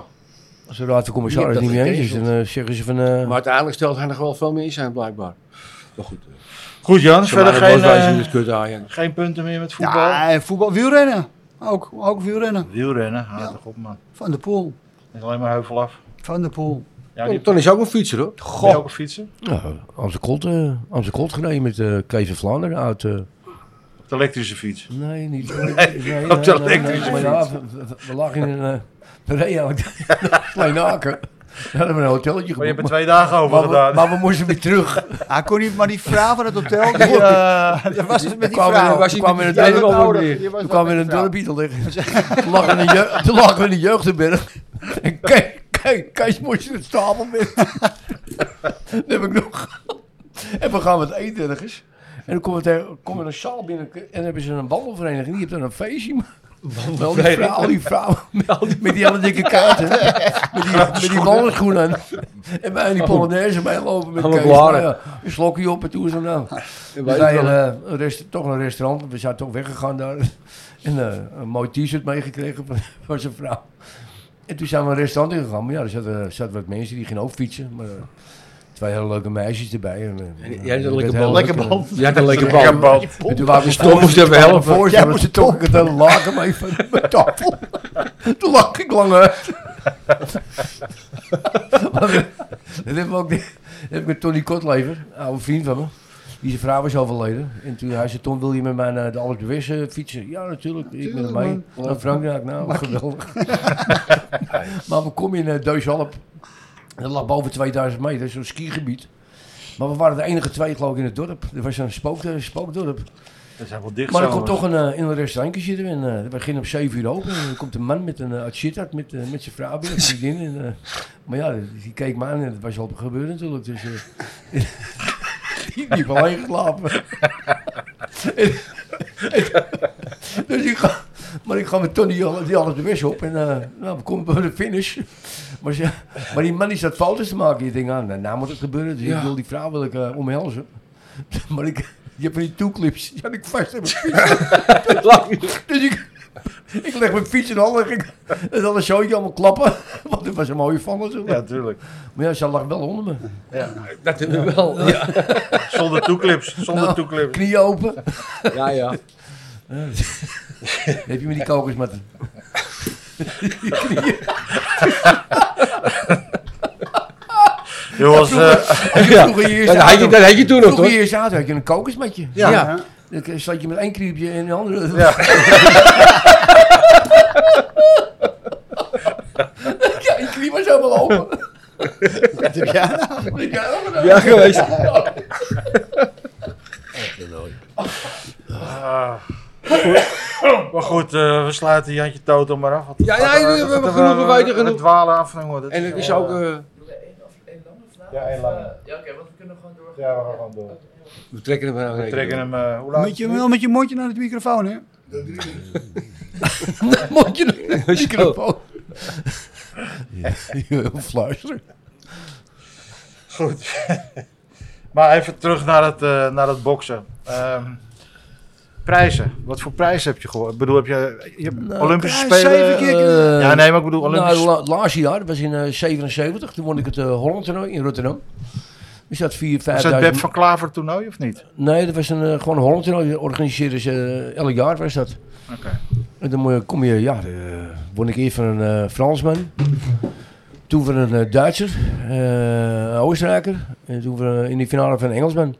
Als de raad van Die commissaris hebt niet dat mee eens is, dan gecanceld. eh, zeggen ze van... eh, Maar uiteindelijk stelt hij nog wel veel meer in zijn, blijkbaar. Maar goed. eh, Goed Jan, verder Samara geen, Boswijzer eh, is kut Ajax. geen punten meer met voetbal. Ja, en voetbal. Wielrennen. Ook, ook wielrennen. Wielrennen, haat toch op man. Van der Poel. Het is alleen maar heuvel af. Van der Poel. Ja, die Ton is ook een fietser, hoor. ben je ook een fietsen. Nou, als de Colt, eh, als de Colt gereden met eh Kees van Vlaanderen uit... eh, Op de elektrische fiets. nee, niet. op de elektrische Maar ja, we, we- we lagen in een... Uh, Klein haken. We hadden we een hotelletje Maar je hebt geboekt. er twee dagen over Maar we, gedaan. maar we moesten weer terug. Hij kon niet, maar die vrouw van het hotel, die, eh, dat was het met die kwam vrouw. in, was kwam in het Die had het dorp. nodig. Die Toen was dat kwamen we met in die een dorpje te liggen. Toen lagen we in de jeugd- Toen lagen we in de jeugdenberg. En kijk, kijk, Kees moest in het stapel met. Dat heb ik nog. En we gaan wat eten ergens. En dan komen we, tegen, komen we een zaal binnen en dan hebben ze een wandelvereniging. Die heeft dan een feestje. Wel die vrouw, al die vrouwen met, met die hele dikke kaarten. Met die, met die wandelschoenen aan. En wij in die polonaise meelopen met Allemaal Kees. Nou blaren. ja, Een slokje op en toe is dan nou. Wij Dus wij wel. hadden, eh, een rest- toch een restaurant, we zijn toch weggegaan daar. En eh, een mooi t-shirt meegekregen van, van zijn vrouw. En toen zijn we een restaurant ingegaan. Maar ja, er zaten, zaten wat mensen die gingen ook fietsen. Maar eh, twee hele leuke meisjes erbij. En, eh, En eh, jij had een dat lekker werd heel bal. leuk. Lekker bal. Je had een lekker bal. Lekker bal. En toen waren we Tom moest even helpen. Voor, Jij ja, moest toen trok ik het een laken mee van mijn tafel. Toen lag ik lang uit. Maar dat hebben we ook dat heb ik met Tony Kotlever, een oude vriend van me. Die zijn vrouw was overleden. En toen hij zei, Tom, wil je met mij naar de Albert de West eh, fietsen? Ja, natuurlijk. Ik ben Tuurlijk, erbij. Naar Frankrijk, nou, geweldig. maar we komen in uh, Deusalp. Dat lag boven 2000 meter, zo'n skigebied. Maar we waren de enige twee, geloof ik, in het dorp. Er was een spook, spookdorp. Dat zijn wel dicht Maar er zo, komt hoor. toch een, eh, in een restaurantje zitten. En, eh, we gingen om 7 uur open. En er komt een man met een, eh, uit Sittard met, eh, met zijn vrouw binnen, zijn vriendin. En, eh, maar ja, die, die keek me aan en dat was al gebeurd natuurlijk. Dus, eh, die liep alleen geslapen. En- en- dus ik ga, maar ik ga met Tony al- die alles de weg op. En eh, nou, we komen bij de finish. Maar, ze- maar die man die zat foto's te maken. Je denkt, ah, nou, nou moet het gebeuren. Dus ik wil die vrouw wil ik, eh, omhelzen. Maar ik, je hebt van die toeclips. Die had ik vast aan mijn fiets. dus ik, ik leg mijn fiets in handen. en ging- En dan een zootje allemaal klappen. Want het was een mooie van natuurlijk. Ja, tuurlijk. Maar ja, ze lag wel onder me. Dat hebben we wel. Ja, Zonder toeclips, zonder Nou, toeclips. Knieën open. Dan ja. ja. heb je me die kokos met... Jongens, eh, Ja, Vroeger hier dat had je, dat had je toen nog, Vroeger toch? hier zaten had je een kokosmatje. ja. Ja. Dan zat je met één kriepje en de andere. Ja. ja, je knie was helemaal open. Dat heb jij nou? Wat heb jij nou gedaan? Ja, geweest. maar goed, eh, we sluiten Jantje Toto maar af. want het Ja, gaat ja, er- we het- hebben het- genoeg, we weten het genoeg. dwalen af. jongen, dat En het is wel, ook... eh, eh, Ja, één lange. Ja, oké, want we kunnen gewoon door. Ja, we gaan gewoon door. we trekken hem aan. We trekken hem, eh, hoe laat? Moet je wel met je mondje naar de microfoon, hè? Moet je nog een microfoon? Ja, Heel fluisteren. Goed. maar even terug naar het, eh, naar het boksen. Ehm, prijzen. Wat voor prijs heb je gehoord? Ik bedoel, heb je, je hebt Nou, Olympische prijs Spelen? zeven keer. Eh, ja, nee, maar ik bedoel Nou, Olympische la- het laatste jaar, dat was in eh, 77, toen won ik het eh, Holland toernooi in Rotterdam. Dus dat 4, Was dat Beb 5 van Klaver toernooi of niet? Nee, dat was een eh, gewoon een Holland toernooi, dat organiseerden ze eh, elk jaar was dat. Oké. En dan moet je- kom je, ja, eh won ik eerst van een eh, Fransman, toen van een eh, Duitser, eh, een Oostenrijker en toen van, eh, in de finale van een Engelsman.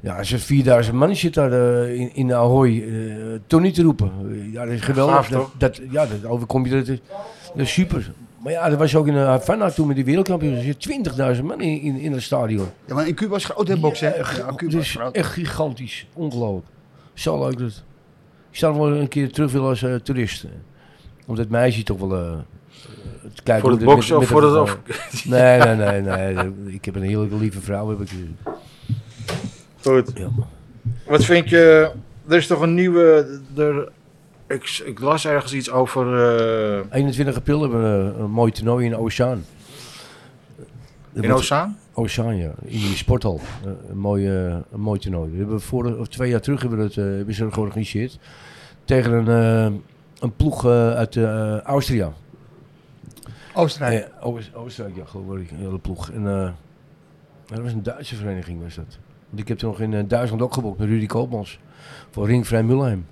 Ja, als je 4000 man zit daar eh, in, in Ahoy, eh toch niet te roepen. Ja, dat is geweldig. Gaaf, dat, toch? dat, ja, dat overkom je. Dat is, dat is super. Maar ja, dat was ook in eh, Havana toen met die wereldkampioenschap. Er zit 20.000 man in, in, in het stadion. Ja, maar in Cuba is groot, hè, boksen? hè? Ja, dus- Ja, het Cuba is is groot. echt gigantisch. Ongelooflijk. Zo leuk dat. Ik zou nog wel een keer terug willen als eh, toerist. Om dat meisje toch wel eh, te kijken. Voor hoe het dit boksen of met- voor met het... het, eh, Nee, nee, nee, nee. Ik heb een hele lieve vrouw. Heb ik, eh, Goed. ja. Wat vind je... Er is toch een nieuwe... Er, ik, ik las ergens iets over... eh, 21 april hebben we eh, een, een mooi toernooi in Oceaan. in Ozaan? Oceaan, ja. In die sporthal. Eh, een, mooi, eh, een mooi toernooi. We hebben vorig, of twee jaar terug hebben we het, eh, hebben ze het georganiseerd. Tegen een, eh, een ploeg eh, uit eh, Austria. Oostenrijk. Ja, Oost- Oostenrijk, ja, geloof ik. Een hele ploeg. En, eh, dat was een Duitse vereniging, was dat. Want ik heb toen nog in eh, Duitsland ook gebokt met Rudy Koopmans. Voor Ringvrij Mulheim.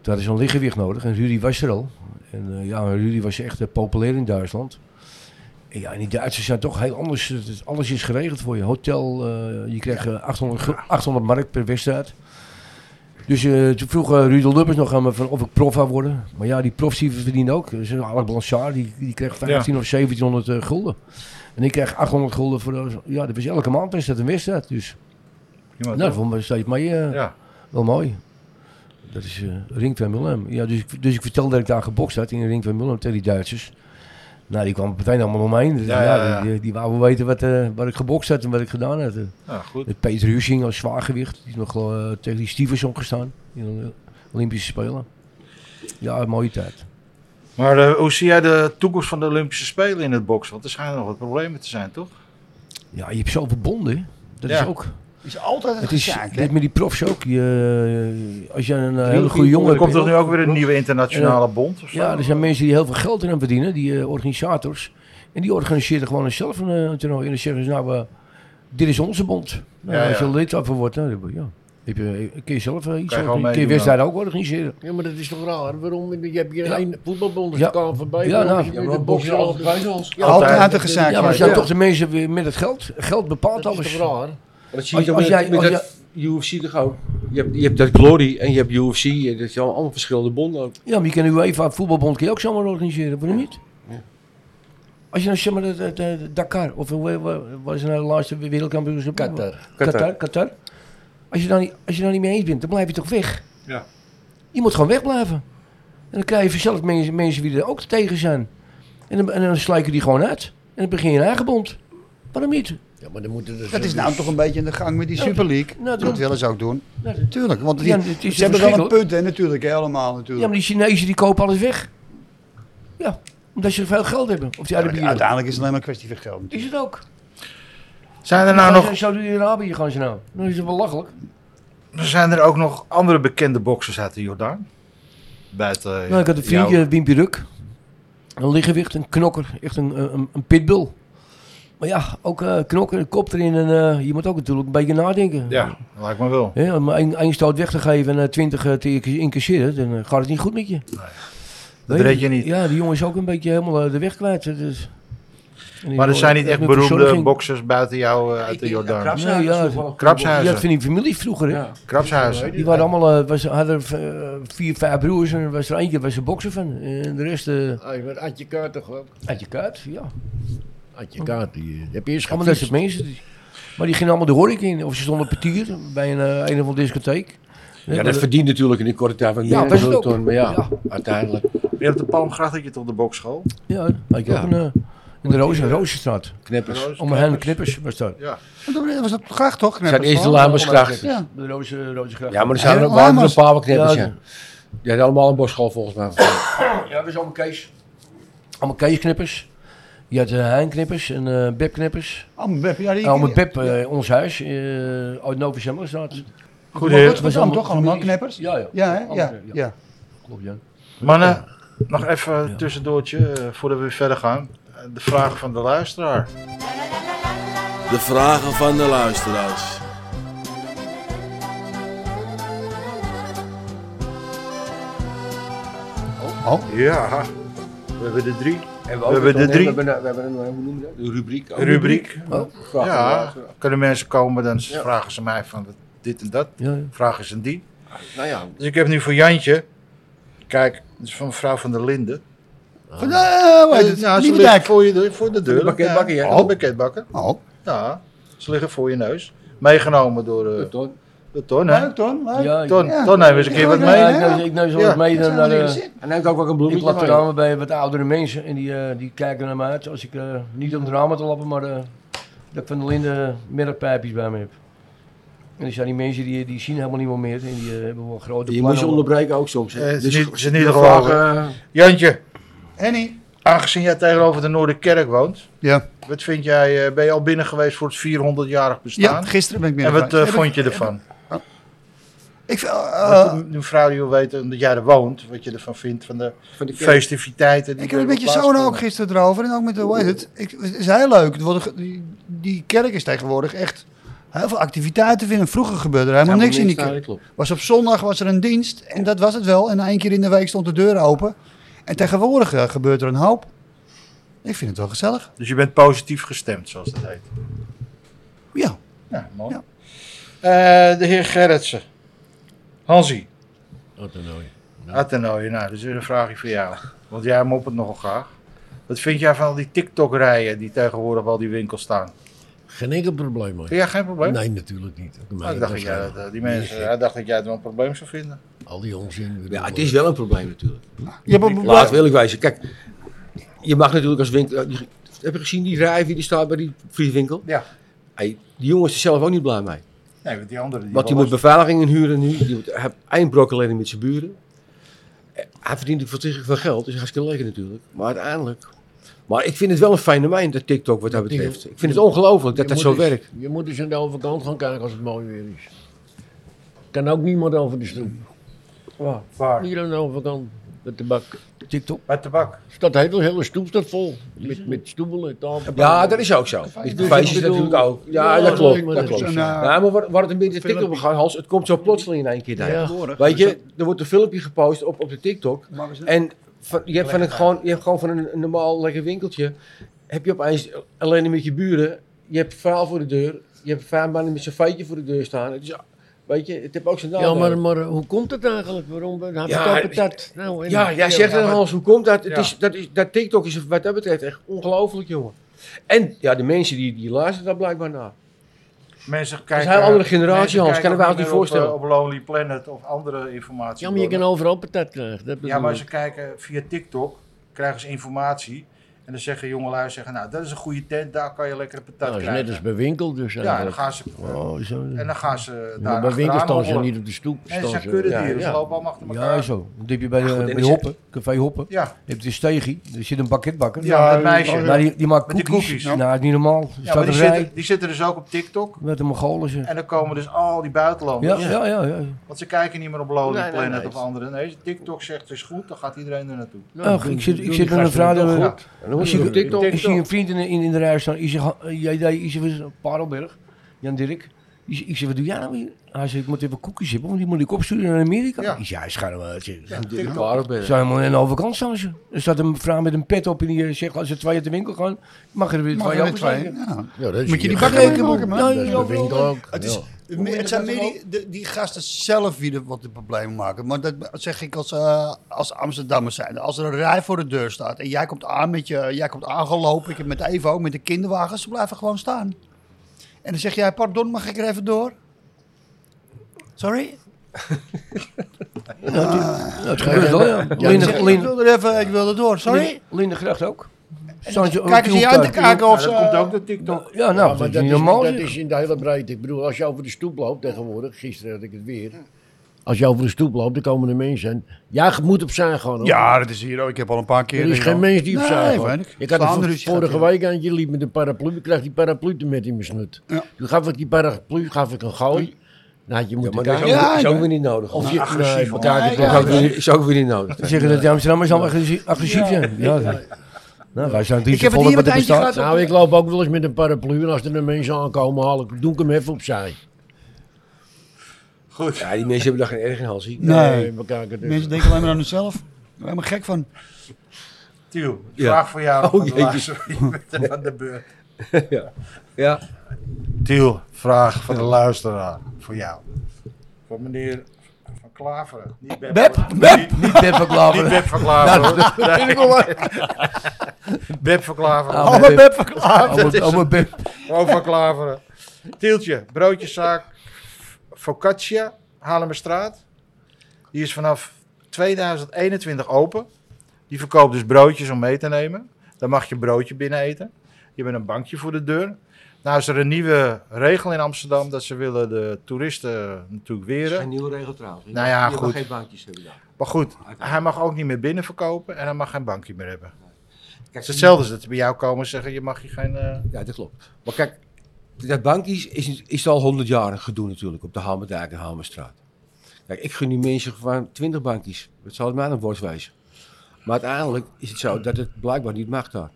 Toen hadden ze een lichtgewicht nodig en Rudy was er al. En eh, ja, Rudy was echt eh, populair in Duitsland. En ja, en die Duitsers zijn toch heel anders. Het is- Alles is geregeld voor je. Hotel, eh, je krijgt eh, 800, gul- 800 mark per wedstrijd. Dus eh, toen vroeg eh, Rudel Lubbers nog aan me van of ik prof wou worden. Maar ja, die profs die verdienen ook. Dus eh, Alec Blanchard, die, die kreeg 15 of 1700 eh, gulden. En ik kreeg 800 gulden voor... de- ja, dat was elke maand was dat een wedstrijd. Dus Prima, nou, dat toch? vond ik steeds mee. eh, Ja. wel mooi. Dat is eh Ring van Mulhem. Ja, dus, ik- dus ik vertelde dat ik daar gebokst had in de Ring van Mulhem tegen die Duitsers. Nou, die kwamen meteen allemaal omheen. Dus, Ja, ja, ja, ja. Die, die, die wouden weten wat, eh wat ik gebokst had en wat ik gedaan had. ja, Nou, goed. Met Peter Hussing als zwaargewicht. Die is nog eh, tegen die Stevenson gestaan in de Olympische Spelen. Ja, een mooie tijd. Maar eh, hoe zie jij de toekomst van de Olympische Spelen in het boksen? Want er schijnen nog wat problemen te zijn, toch? Ja, je hebt zoveel bonden. hè. Dat Ja. is ook. is altijd een Het is gezaak, hè? dit met die profs ook. Je, als je een eh, hele goede vier jongen Er hebt. komt toch nu ook weer een nieuwe internationale bond? Of zo? Ja, er zijn mensen die heel veel geld in aan verdienen, die eh, organisators. En die organiseren gewoon zelf een, eh, een toernooi. En dan zeggen ze, nou, eh, dit is onze bond. Nou, Ja, Als je ja. lid daarvan wordt, nou, dan ja. heb je, kun je zelf eh, iets Kan je organiseren. Kun gewoon je meedoen wedstrijden ook organiseren. Ja, maar dat is toch raar? Waarom? Je hebt hier Ja. één voetbalbond, dus Ja. ja. kan voorbij. Ja, nou, ja, de boksen al Altijd een gezaak, Ja, maar ja. het zijn ja. toch de mensen weer met het geld. Geld bepaalt Dat is alles. toch raar? Dat zie je Als- toch als met- jij- als met dat UFC toch ook. Je hebt, je hebt dat Glory en je hebt UFC. en Dat zijn allemaal verschillende bonden ook. Ja, maar je kan de UEFA voetbalbond kun je ook zomaar organiseren. Waarom niet? Als je nou zeg maar het, het, het Dakar, of eh, waar- waar- waar is nou de laatste wereldkampioenschap? Qatar. Qatar, Qatar. Als je, daar niet, als je daar niet mee eens bent, dan blijf je toch weg. Ja. Je moet gewoon wegblijven. En dan krijg je vanzelf mensen, mensen die er ook tegen zijn. En dan, en dan slijken die gewoon uit. En dan begin je een eigen bond. Waarom niet? Ja, maar dan moeten er... Dat is nou toch een beetje in de gang met die Super League. nou, daarom. dat willen ze ook doen. Nou, dat- Tuurlijk, want die- Ja, het is een ze hebben wel een verschil. punt, hè, natuurlijk, hè, allemaal Ja, natuurlijk. maar die Chinezen die kopen alles weg. Ja, omdat ze veel geld hebben. Of die Ja, maar Arabieren. uiteindelijk is het alleen maar een kwestie van geld. Is het ook. Zijn er nou Nou, nog, nog... Saudi-Arabië gaan ze nou. Dan is het belachelijk. zijn er ook nog andere bekende boksers uit de Jordaan? Buiten eh, Nou, ik had een jou. vriendje, Wimpy Ruk. Een liggewicht, een knokker. Echt een, een, een pitbull. Maar ja, ook eh knokker, een kop erin. En, eh, je moet ook natuurlijk een beetje nadenken. Ja, lijkt me wel. Hè, om één één stoot weg te geven en eh, twintig eh, te inca- incasseren, dan eh, gaat het niet goed met je. Dat Weet red je niet. Ja, die jongen is ook een beetje helemaal eh, de weg kwijt. Dus. En die Maar er zijn niet echt heeft een beroemde verzorging. boksers buiten jou eh, uit de Nee, Jordaan. ja, Krapshuizen. Ja, dat van die familie vroeger. hè. Ja. Krapshuizen. Die waren allemaal, eh, was, hadden eh, vier, vijf broers en er was er eentje was een bokser van. En de rest eh Ah, je bent Adje Kaart toch ook? uit je kuit, ja. Adje Kaart, die eh, heb je eerst Allemaal dat gefietst. soort mensen. die- Maar die gingen allemaal de horeca in. Of ze stonden op het tier bij een, eh, een of andere discotheek. Ja, dat verdient natuurlijk in de korte tijd van Ja, meer best dan ook. toen, Maar ja, Ja. uiteindelijk. Je hebt de Palmgracht, had je toch de bokschool? Ja, had je Ja. ook een, eh, in de Roos, Roosstraat. Knippers. Roos- Om hen knippers was dat. Dat was dat graag toch? Het zijn Knippers, eerst de man? Lamersgracht. Ja. De Roze, Rozengracht. Ja, maar er zijn Ja, er waren er Lamers. een paar wel knippers, Ja. ja. Die hadden allemaal een borstschool volgens mij. Ja, dat is allemaal Kees. Allemaal Keesknippers. Je had eh, Heinknippers en eh Bebknippers. Allemaal Beb. Oh, Ja, die, Ja, allemaal die- Beb, eh, ons huis, eh uit Nova Zemmelstraat. Goed, Maar eh, heer. dat was allemaal toch allemaal knippers? Ja, ja. Ja, hè? Allemaal ja, knippers, ja. Klopt, ja. Mannen, nog even tussendoortje eh, voordat we weer verder gaan. Eh, De vraag van de luisteraar. De vragen van de luisteraars. Oh. Ja, we hebben er drie. En ook hebben de een- drie. we we hebben een, eh, hoe noem je dat? De rubriek. Rubriek. Ja. Ja, kunnen mensen komen, dan vragen ze mij van dit en dat. Ja, ja. Vragen ze die. Nou ja, Dus ik heb nu voor Jantje. Kijk, dit is van mevrouw van der Linden. Van, eh, hoe heet het? Oh, Ja, ze liggen Nieuwendijk. voor, je, deur- voor de deur. de pakketbakker, ja. Ja, de pakketbakker. Oh, Ja, ze liggen voor je neus. Meegenomen door eh, Ton. de ton, hè? leuk Ton. leuk. Ja, ik- Ton, Ja. ton neem eens een keer wat mee. Ja, Oh, ik hè? neus- ik neus wel Ja. eens mee Dat dan zijn naar eh, wel de... dingen zin. En hij heeft ook wel een Ik bloemetje lap de bij. ramen bij wat oudere mensen en die, eh, die kijken naar mij uit. Als ik, eh, niet om de ramen te lappen, maar eh, dat ik van de Linde middagpijpjes bij me heb. En er zijn die mensen die, die zien helemaal niemand meer en die eh, hebben wel grote Je moet plannen. je onderbreken ook soms. hè. Eh, het is Dus niet- het is niet je te vraagt, eh, Jantje, Henny. aangezien jij tegenover de Noorderkerk woont. Ja. Wat vind jij, eh, ben je al binnen geweest voor het 400-jarig ja, bestaan? gisteren ben ik meer en wat geweest. eh, Heb vond je ervan? Ik, ik, vind, eh, Want nu vrouw die wil weten, omdat jij er woont, wat je ervan vindt van de van de kerk. festiviteiten. die ik heb een hebben beetje sauna ook plaatsgevonden. gisteren erover. En ook met de, hoe heet het? Ik, het is heel leuk. Het wordt, die, die kerk is tegenwoordig echt heel veel activiteiten vinden. Vroeger gebeurde er helemaal niks in die daar, kerk. klopt. Was op zondag was er een dienst en dat was het wel. En één keer in de week stond de deur open. En tegenwoordig eh, gebeurt er een hoop. Ik vind het wel gezellig. Dus je bent positief gestemd, zoals dat heet. Ja. Ja, mooi. Ja. Eh, de heer Gerritsen. Hansi. Wat een hooi. Attenooien, nou, dat is weer een vraagje voor jou. Want jij moppert nogal graag. Wat vind jij van al die TikTok-rijen die tegenwoordig op al die winkels staan? Geen enkel probleem, man. Vind jij geen probleem? Nee, natuurlijk niet. Maar Ah, Nou, ik dacht, dat jij, dat, eh, die mensen, Nee. hij dacht dat jij het wel een probleem zou vinden. Al die onzin. ik bedoel, eh, Ja, het is wel een probleem natuurlijk. Je hebt een- Laat wil ik wijzen. Kijk, je mag natuurlijk als winkel. eh, die- Heb je gezien die rij die staat bij die vrieswinkel? Ja. Hey, die jongens zijn zelf ook niet blij mee. Nee, want die anderen... Die Want die moet beveiliging inhuren nu. Die moet- Hij heeft één brok alleen met zijn buren. Eh, Hij verdient natuurlijk voor zich veel geld. Dus hij is lekker natuurlijk. Maar uiteindelijk. Maar ik vind het wel een fenomeen, dat TikTok, wat dat Dat ding- betreft. Ik vind het ongelooflijk dat je dat moet zo eens- werkt. Je moet eens aan de overkant gaan kijken als het mooi weer is. Kan ook niemand over de stoep. Waar? Hier aan de overkant met de bak. TikTok. Met tabak. Dat hele, hele stoep staat vol. Met, met stoelen, tafel. Ja, dat is ook zo. De Dus feestjes ik bedoel- natuurlijk ook. Ja, Ja, dat klopt. maar Dat dat is klopt. een, eh, Ja, maar waar, waar het een beetje TikTok op gaat, Hans, het komt zo plotseling in één keer. daar. Weet je, er wordt een filmpje gepost op, op de TikTok. En van- je, hebt van een, gewoon, je hebt gewoon van een, een normaal lekker winkeltje. Heb je opeens alleen met je buren. Je hebt vuil voor de deur. Je hebt vijf mannen met zijn feitje voor de deur staan. Het is, weet je, het heeft ook zijn Ja, nadelen. maar, maar hoe komt het eigenlijk? Waarom we- hij Ja, verkoopt dat? Nou, en- Ja, jij zegt Ja, het maar- Hans, hoe komt dat? Het Ja. is, dat, is, dat TikTok is wat dat betreft echt ongelooflijk, jongen. En ja, de mensen die, die luisteren daar blijkbaar naar. Mensen kijken... is een hele andere generatie, mensen Hans, kijken kan ik me ook niet meer op, voorstellen. eh, Op, Lonely Planet of andere informatie. Ja, maar je kan overal patat krijgen. Dat Ja, bedoel maar ik. ze kijken eh, via TikTok, krijgen ze informatie. En dan zeggen jongelui, zeggen, nou, dat is een goede tent, daar kan je lekkere patat Nou, dat is krijgen. net als bij winkel dus ja, en dan eigenlijk. gaan ze, Oh, zo. en dan gaan ze Maar daar bij winkel achteraan staan ze hobbelen. niet op de stoep. En ze staan zijn ze- kuddedieren, ja, ze ja. lopen allemaal achter elkaar. Ja, zo. Dan heb je bij, Ja, goed, eh, en bij is- Hoppen, café Hoppen, Ja, heb je een steegje. Er zit een bakketbakker. ja, dat meisje. Nou, die, die maakt Met die cookies. cookies, ja. nou, dat is niet normaal. Er Ja, staat maar een die rij zitten, die zitten dus ook op TikTok. met een Mongolen. ze. En dan komen dus al die buitenlanders. Ja, ja, ja. ja. Want ze kijken niet meer op Lonely Nee, nee, Planet nee. of andere. Nee, TikTok zegt het is goed, dan gaat iedereen er naartoe. Nou, Ach, ik doe- zit, doe ik die zit met een gasten vrouw. het toch dat- goed. En dan Ik moet zie, je op TikTok. ik zie een vriend in, de- in, in de rij staan. Jij deed iets van Parelberg. Jan Dirk. Ik ik zei, wat doe jij nou hier? Hij zei, ik moet even koekjes hebben, want die moet ik opsturen naar Amerika. Ja. Ik zei, hij schuilt wel. Ze Dikke paardenbedden. zijn helemaal aan de overkant staan ze. Er staat een vrouw met een pet op en die eh, zegt, als er twee uit de winkel gaan, mag er weer Mag twee er weer over twee? zijn. Ja. Ja, dat is Moet je die ja, bak dat is leeg maken, man? Dat Ja, is ja, de ja. winkel ook. Het, is, ja. het zijn meer die, de- die gasten zelf die de, wat de problemen maken. Maar dat zeg ik als, eh als Amsterdammers zijn. Als er een rij voor de deur staat en jij komt aan met je, jij komt aangelopen, ik heb met Eva ook, met de kinderwagens, ze blijven gewoon staan. En dan zeg jij, pardon, mag ik er even door? Sorry? Ja, het gebeurt wel, ja. Ja, die Linde- zeggen, ik Linde- wil er even, ik wil er door, sorry? Linde- Linde Gracht ook. Kijken ze je aan te kijken of ze... Nou, dat komt ook door TikTok. Ja, Ja, nou, maar dat is dat, niet is, normaal. dat zeg. is in de hele breedte. Ik bedoel, als je over de stoep loopt tegenwoordig, gisteren had ik het weer. Als je over de stoep loopt, dan komen er mensen. En, ja, je moet opzij gaan. Hoor. dat is hier ook. Ik heb al een paar keer... eh, Er is geen mens die Nee, opzij gaat. weet ik. Ik had het Vlaanderen vor- is gaat vorige hier. week aan je liep met een paraplu. Ik kreeg die paraplu er met in mijn snut. Ja. Toen gaf ik die paraplu gaf ik een gooi. Nou, had je Ja, moeten maar dat is ook, kijken. Ja, is ik ook ben- weer niet nodig. Of je, nee, maar- Ja, dat is ook weer- is ook weer niet nodig. Ze zeggen dat de Amsterdammers allemaal agressie- agressief zijn. Ja, ja. Nou, wij zijn Ik heb natuurlijk het vol hier met met wat er eentje bestaat. gehad. nou, ik loop ook wel eens met een paraplu. En als er een mensen aankomen, haal ik, doe ik hem even opzij. Ja, die mensen hebben daar geen erg in hals. zie. Nee, we kijken dus. mensen denken alleen maar aan hunzelf. Ik ben helemaal gek van. Tiel, Ja. vraag voor jou. Oh, van de jeetje. luisteraar. Je bent er aan de beurt. Ja. Tiel, vraag van de luisteraar voor jou. Voor meneer Van Klaveren. Niet Beb. Beb? Niet, Niet Beb van Klaveren. niet Beb van Klaveren. hoor. Nee. Beb van Klaveren. Allemaal Oh, Beb. Beb verklaard. Allemaal- allemaal Beb. Oh, van Klaveren. Tieltje, broodjeszaak Focaccia, Haarlemmerstraat. Die is vanaf 2021 open. Die verkoopt dus broodjes om mee te nemen. Dan mag je een broodje binnen eten. Je hebt een bankje voor de deur. Nou is er een nieuwe regel in Amsterdam dat ze willen de toeristen natuurlijk Dat is geen weren. nieuwe regel trouwens. Je Nou mag- ja, je mag goed. geen baantjes hebben daar. Maar goed, hij mag ook niet meer binnen verkopen en hij mag geen bankje meer hebben. Kijk, Het is hetzelfde als dat ze bij jou komen en zeggen je mag je geen... eh, Ja, dat klopt. Maar kijk, dat bankjes is, is al 100 jaar een gedoe natuurlijk op de Hamerdijk en Hamerstraat. Kijk, ik gun die mensen gewoon 20 bankjes. Dat zal het mij een woord wijzen. Maar uiteindelijk is het zo dat het blijkbaar niet mag daar.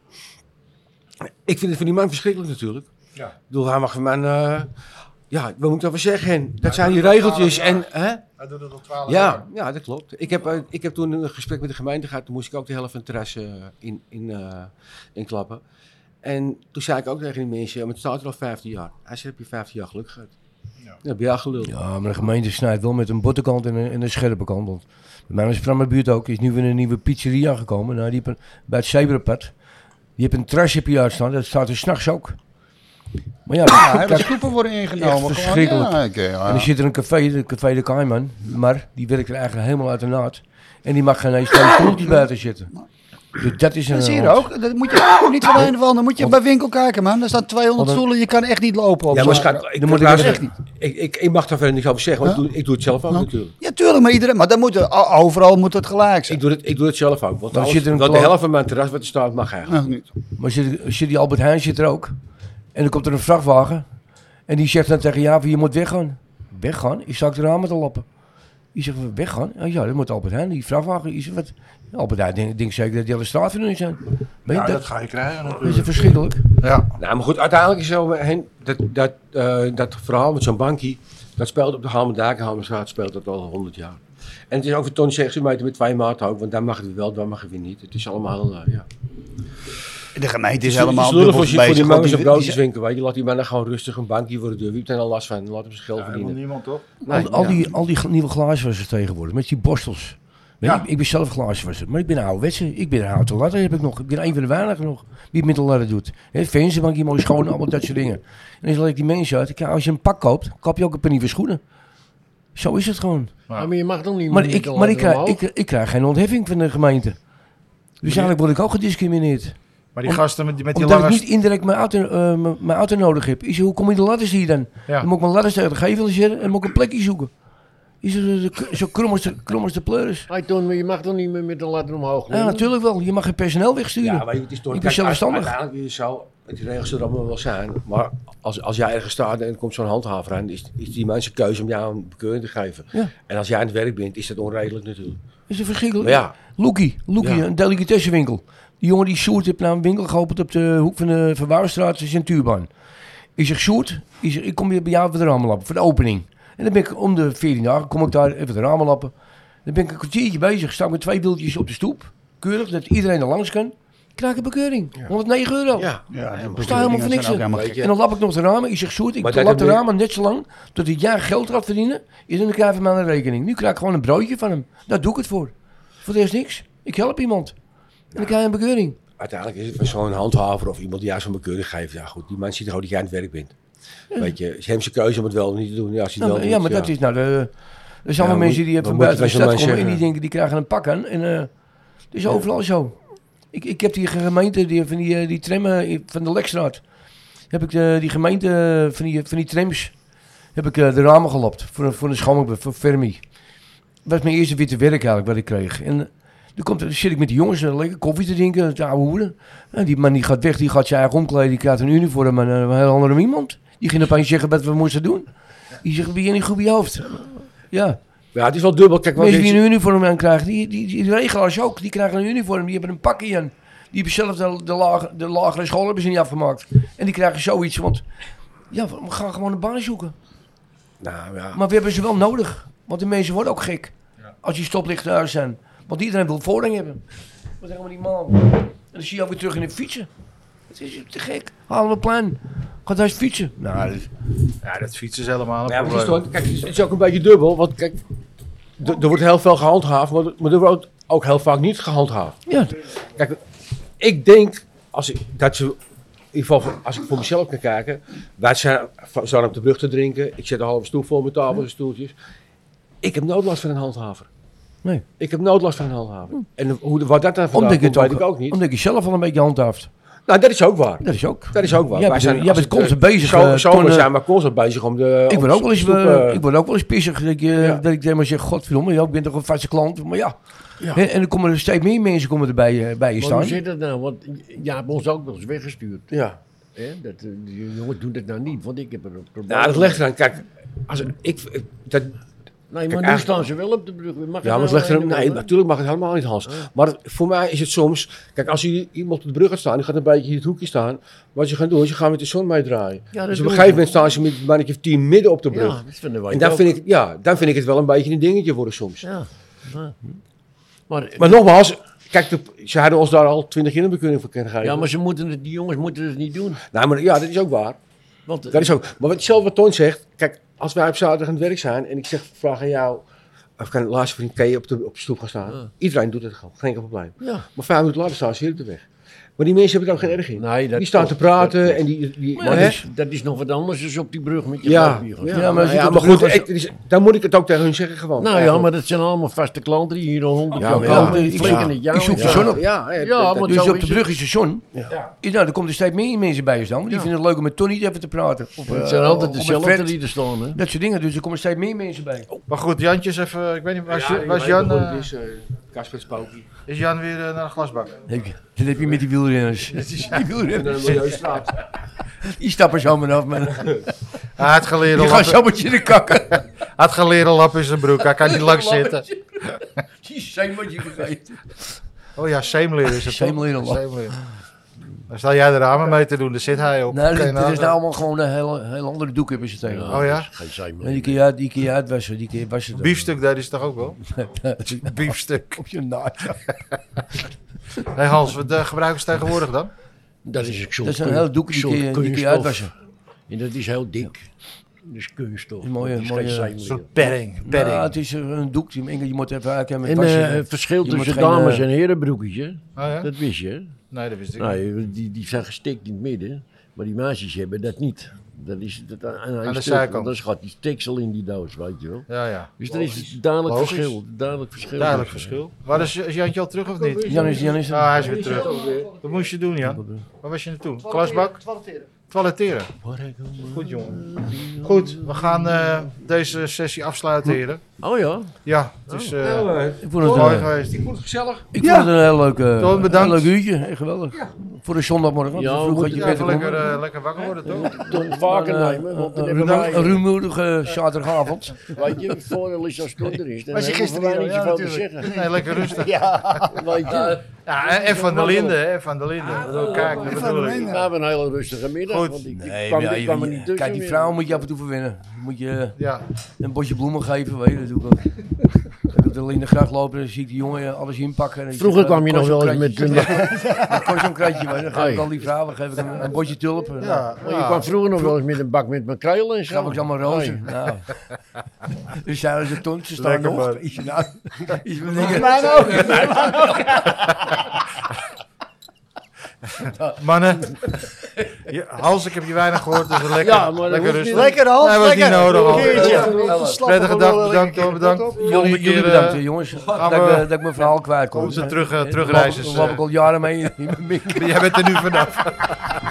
Ik vind het van die man verschrikkelijk natuurlijk. Ja. Ik bedoel, hij mag van mijn... eh, ja, we moeten daarvan zeggen. Dat zijn die regeltjes. En, hè? Hij doet het al 12 Ja, ja, dat klopt. Ik heb, eh, ik heb toen een gesprek met de gemeente gehad. Toen moest ik ook de helft van het terras eh, in, in, eh, inklappen. En toen zei ik ook tegen die mensen, ja, maar het staat er al 15 jaar. Hij zei, heb je 15 jaar geluk gehad? Ja. Dan heb je al gelul. Ja. Ja, maar de gemeente snijdt wel met een botte kant en een, en een scherpe kant. Want bij mij is het mijn buurt ook. Er is nu weer een nieuwe pizzeria gekomen. Nou, die heb een- bij het zebrapad. Die hebt een terrasje per jaar staan. Dat staat er s'nachts ook. Maar ja, Ja, kijk, Ah, hebben de groepen worden ingenomen. Echt Gewoon, verschrikkelijk. Ja, oké, ja, en ja. er zit er een café, de café de Kaiman. Maar die werkt er eigenlijk helemaal uit de naad. En die mag geen eens twee stoeltjes buiten zitten. Dus dat is een... Dat zie je ook. Dat moet je niet van een of ander. Moet je bij winkel kijken, man. Daar staan 200 Want- stoelen. Je kan echt niet lopen. op maar zo'n- schat, ik, Dan moet ik luister, echt ik, ik, ik, mag daar verder niks over zeggen, want ik, doe, ik doe het zelf ook natuurlijk. Ja, tuurlijk. Maar, iedereen, maar dan moet, er- o- overal moet het gelijk zijn. Ik doe het, ik doe het zelf ook, want, Dan alles- zit er een want de kloof. helft van mijn terras wat er staat mag eigenlijk. Nou, niet. Maar zit, zit die Albert Heijn zit er ook. En dan komt er een vrachtwagen. En die zegt dan tegen Javi, je moet weggaan. Weggaan? Ik sta ik de ramen te lappen. Die zegt, weggaan? Ja, ja, dat moet Albert Heijn. Die vrachtwagen, die zegt, wat? Albert Heijn denkt denk zeker dat die alle straat van hun zijn. Weet je, Ja, dat dat, ga je krijgen dat is natuurlijk. verschrikkelijk. Ja. Nou, maar goed, uiteindelijk is zo heen, dat, dat, eh, dat verhaal met zo'n bankie, dat speelt op de Hamerdaken, Hamerstraat speelt dat al 100 jaar. En het is over ton 60 meter met twee maten ook, want daar mag het weer wel, daar mag het weer niet. Het is allemaal, eh, ja. De gemeente is Het helemaal lullig dubbel voor, die- voor die bezig. want mangens en die- die- broodjeswinkel, weet je. Laat die mannen gewoon rustig een bankje voor de deur. Wie heeft er nou last van? Laat hem zijn geld Helemaal verdienen. niemand toch? Al, al, ja. die, al die gl- nieuwe glazenwassers tegenwoordig, met die borstels. Weet je, Ja. ik, ik ben zelf glazenwasser, maar ik ben een ouderwetse. Ik ben een houten ladder, heb ik nog. Ik ben een van de weinigen nog die het met een ladder doet. Hè, Vensterbankje, mooi schoon, allemaal dat soort dingen. En dan laat ik die mensen uit. Kijk, als je een pak koopt, koop je ook een paar nieuwe schoenen. Zo is het gewoon. Ja, maar je mag dan niet Maar, met ik, de maar ik, ladder krijg, omhoog. ik, ik krijg geen ontheffing van de gemeente. Dus eigenlijk word ik ook gediscrimineerd. Maar die Om- gasten met, die- met die Omdat ik lange... niet indirect mijn auto, eh, mijn- mijn auto nodig heb. Ik zeg, hoe kom je de ladders hier dan? Ja. Dan moet ik mijn ladders tegen de gevel zetten en moet ik een plekje zoeken. Is het eh, de- zo krom als de, krom als de pleuris? Hey, Toon, maar je mag dan niet meer met de ladder omhoog. Ja, natuurlijk wel. Je mag geen personeel wegsturen. Ja, maar het is toch... Ik ben kijk, zelfstandig. Uiteindelijk is het zo... Die regels zullen allemaal wel zijn. Maar als, als jij ergens staat en er komt zo'n handhaver aan... Is, is die mensen keuze om jou een bekeuring te geven. Ja. En als jij aan het werk bent, is dat onredelijk natuurlijk. is het verschrikkelijk? Maar ja, Loekie, Loekie, Ja. een delicatessenwinkel. Die jongen die soert heeft naar een winkel geopend op de hoek van de Verwouwstraat, dat is in Tuurban. Ik zeg, Sjoerd, ik, zeg, ik kom weer bij jou voor de ramenlappen, voor de opening. En dan ben ik om de 14 dagen, kom ik daar even de ramen lappen. Dan ben ik een kwartiertje bezig, sta ik met twee wieltjes op de stoep. Keurig, dat iedereen er langs kan. Ik Krijg een bekeuring, 109 euro. Ja. Ik sta helemaal voor niks. in. gek. En dan lap ik nog de ramen. Ik zeg, Sjoerd, Maar ik dat lap de heb je- ramen net zo lang tot ik jaar geld gaat verdienen. Is dan krijg ik van mij een rekening. Nu krijg ik gewoon een broodje van hem. Daar doe ik het voor. Voor de rest niks. Ik help iemand. En dan krijg je een bekeuring. Uiteindelijk is het van zo'n handhaver of iemand die jou zo'n bekeuring geeft. Ja goed, die man ziet gewoon dat jij aan het werk bent. Weet je, het is hem zijn keuze om het wel of niet te doen. Ja, als hij Nou, het wel ja, doet, maar dat is nou de... Er zijn Ja, wel moet- mensen die wat van moet je buiten de van stad zo'n komen en mensen, die ja. denken, die krijgen een pak aan. En eh, het is overal zo. Ik, ik heb die gemeente, die, van die, eh, die tram eh, van de Lekstraat, heb ik de, die gemeente eh, van die, van die trams, heb ik eh, de ramen gelapt voor, een- voor een schoonmaak, voor Fermi. Dat was mijn eerste witte werk eigenlijk wat ik kreeg. En eh, dan, komt, dan zit ik met de jongens eh, lekker koffie te drinken, te ouwe hoeren. En die man die gaat weg, die gaat zijn eigen omkleden, die krijgt een uniform en eh, een heel ander iemand. Die ging opeens zeggen wat we moesten doen. Die zegt, ben je niet goed bij je hoofd? Ja. ja. Ja, het is wel dubbel. Kijk, wat Mensen dit- die een uniform aan krijgen, die, die, die regelaars ook, die krijgen een uniform, die hebben een pakje aan. Die hebben zelf de, de, laag- de lagere school hebben ze niet afgemaakt. En die krijgen zoiets, want ja, we gaan gewoon een baan zoeken. Nou ja, Maar we hebben ze wel nodig, want de mensen worden ook gek als die stoplichten uit zijn. Want iedereen wil voorrang hebben. Wat helemaal niet man. En dan zie je ook weer terug in de fietsen. Het is te gek. Halen we een plan. Gaat hij eens fietsen? Nou, dat is- Ja, dat fietsen is helemaal een Ja, maar het is, eh. probleem. toch, kijk, het is- het is ook een beetje dubbel. Want kijk, d- er wordt heel veel gehandhaafd, maar, maar er wordt ook heel vaak niet gehandhaafd. ja, Kijk, ik denk als ik, dat ze, in ieder geval als ik voor mezelf kan kijken, wij zijn van- staan op de brug te drinken. Ik zet een halve stoel vol met tafels en stoeltjes. Ik heb nooit last van een handhaver. Nee. Hm. Ik heb nooit last van een handhaver. En hoe, de- wat dat dan vandaan omdat je komt, het weet ook, ik ook niet. omdat je zelf al een beetje handhaaft. Nou, dat is ook waar. Dat is ook. Dat is ook waar. Jij Wij bent- jij als bent het, constant eh, bezig, zo- eh, zomer Ton, eh, zijn we constant bezig om de... Ik om ben ook wel eens, stoep, eh, eh, ik word ook wel eens pissig dat, ik, eh, Ja. dat ik tegen maar zeg, godverdomme, ja, ik ben toch een vaste klant. Maar ja, Ja. Hè, en dan komen er steeds meer mensen komen er bij, je- bij je Maar hoe staan. zit dat nou? Want Jaap ons ook wel eens weggestuurd. ja. Hè? Dat, eh, die jongens doen dat nou niet, want ik heb er een probleem. Nou, dat legt eraan. Kijk, als ik, ik- dat, Nee, Kijk, maar nu eigenlijk- staan ze wel op de brug. Mag het ja, maar nou het legt eraan. een of Nee, ander? natuurlijk mag het helemaal niet, Hans. Maar het- voor mij is het soms. Kijk, als je iemand op de brug gaat staan, die gaat een beetje in het hoekje staan. Wat ze gaan doen, ze gaan met de zon meedraaien. dat dus op doen een gegeven we. moment staan ze met een mannetje of tien midden op de brug. Ja, dat vinden wij en dan ook. vind, ik, ja, dan vind ik het wel een beetje een dingetje worden soms. Ja. ja. Hm? Maar, Maar nogmaals, kijk, de, ze hadden ons daar al twintig in een bekeuring voor kunnen geven. ja, maar ze moeten het, die jongens moeten het niet doen. Nou, maar ja, dat is ook waar. Want, Dat is ook. Maar wat zelf wat Ton zegt, kijk, als wij op zaterdag aan het werk zijn en ik zeg, vraag aan jou, of kan laatste vriend, kan je op de, op de stoep gaan staan? Ja. Iedereen doet het gewoon, geen enkel probleem. Ja. Maar vijf minuten later staan ze weer op de weg. Maar die mensen hebben er ook geen erg in. Nee, dat die staan te klopt, praten dat klopt. en die... die Maar hè? dat, is, dat is nog wat anders dan op die brug met je ja, grapje gaan. ja, Ja, maar maar, als je ja, op maar de goed, brug het- het is- dan moet ik het ook tegen hun zeggen gewoon. Nou ja, eigenlijk. maar dat zijn allemaal vaste klanten die hier al honderd Ja, jaar maar komen. ja. Die flikken het jou Ik zoek in. de zon op. Ja, hè, Ja, dat- maar- dat- Dus zo op de is brug is de zon. Ja. Ja, dan komen er steeds meer mensen bij je staan. want Die Ja. vinden het leuk om met Tony even te praten. Of, Het eh, zijn altijd of met dezelfde Fred. die Oh. er staan. Hè? Dat soort dingen, dus er komen steeds meer mensen bij. Maar goed, Jantje is even... Ik weet niet, waar is, Ja, waar is ik weet Jan, nog eh, hoe het is, eh, Casper Spooky. is Jan weer eh, naar de glasbak? Heb je- Dat heb je met die wielrenners. Die En dan wielrenners, Milieustraat. die stappen zo maar af. man. Hij had geleerd Die gaan zo met je de kakken. Hij had geleren lap in zijn broek. Hij kan niet lang zitten. Die zijn wat je vergeet. Oh ja, zeemleer is het. toch? Zeemleer, lap. Zeemleer. Dan sta jij de ramen mee te doen. Daar zit hij op. Nou, Kan je dat, dat is nagaan. nou allemaal gewoon een heel, heel andere doek hebben ze tegen. Oh ja? Geen zijn En meer. die kun je, uit- die kun je uitwassen, die kun je wassen. dan. eh, Biefstuk daar is toch ook wel? Biefstuk. Op je naad. Hé hey Hans, wat eh, gebruiken ze tegenwoordig dan? Dat is een soort, Dat is een kun- heel doek, die soort kun je, die kun je kunststof. uitwassen. En dat is heel dik. Dat is kunststof. Een mooie- dat is geen mooie- eh, zijn Een meer. soort bedding. Ja, bedding. Nou, het is een doek, die- Inge, je moet even uitkijken met En wassen. eh, het verschil Je tussen moet geen, dames eh, en heren broekjes, Oh ja? dat wist je. hè? Nee, dat wist ik niet. Nou, die, die zijn gestikt in het midden, maar die meisjes hebben dat niet. Dat is dat aan, aan, de stuk, zijkant. want Anders gaat die stiksel in die doos, weet je wel. Ja, ja. Dus er is duidelijk Logisch. verschil. Duidelijk verschil. Duidelijk tussen. verschil. Waar eh. is, is Jantje al terug of niet? Jan is, Jan is Nou, hij is weer terug. Wat moest je doen, Jan? Waar was je naartoe? Klasbak? Toiletteren. Goed, jongen. Goed, we gaan eh, deze sessie afsluiten, heren. Oh ja. Ja, het is eh, Ja, eh, Ik vond het, mooi een- geweest. Ik vond het gezellig. ik vond het een heel leuk, eh, Toon, bedankt. heel leuk uurtje. Echt geweldig. Voor de zondagmorgen. want Ja, het is we vroeg had moeten je Ja, bed even te lekker, komen. eh, lekker wakker worden, toch? Toen vaker Een, eh, nemen, want dan een hebben rumoer- wij- een rumoerige zaterdagavond. Weet je, voor een Lisa Stroender is, dan Was je hebben gisteren wij hier niet zoveel al? Ja, te natuurlijk. zeggen. Nee, lekker rustig. Weet je, Ja, en- en Van der Linden, hè, Van der Linden. Ik bedoel, Kijk, dat bedoel ik. we hebben een hele rustige middag, Goed. want ik, ik Nee, kwam, maar ja, ik je- kwam er je- niet tussen kijk, die meer. vrouw moet je af en toe verwennen. Je Moet je Ja, een bosje bloemen geven, weet je, dat doe ik ook. Ik wil in de gracht lopen, dan zie ik die jongen eh, alles inpakken. en Vroeger ik zeg, kwam je eh, nog wel eens kost met... een- een kort zo'n kratje, weet je. Dan geef ik Hey. al die vrouwen, geef ik hem een, een bosje tulpen. ja, Ja. Maar je kwam vroeger nog wel eens met een bak met makrelen en zo. Dan gaf ik ze allemaal rozen. Nou. Dus zeiden ze toen, ze staan Lekker, nog. man. Is je nou, is je nou, Mijn ook. Mannen, je, Hans, ik heb je weinig gehoord, dus lekker, Ja, maar dat lekker hoeft rustig. Lekker Hans, Nee, was niet lekker. nodig, Een Hans. keertje. Prettige dag, bedankt hoor, bedankt. jullie, Volgende jullie keer bedankt, eh, eh, jongens. dat, we- ik, eh, dat ik mijn verhaal kwijt kon. onze terug, eh, Eh, terugreizers, Daar loop ik eh. al jaren mee in mijn mik. jij bent er nu vanaf.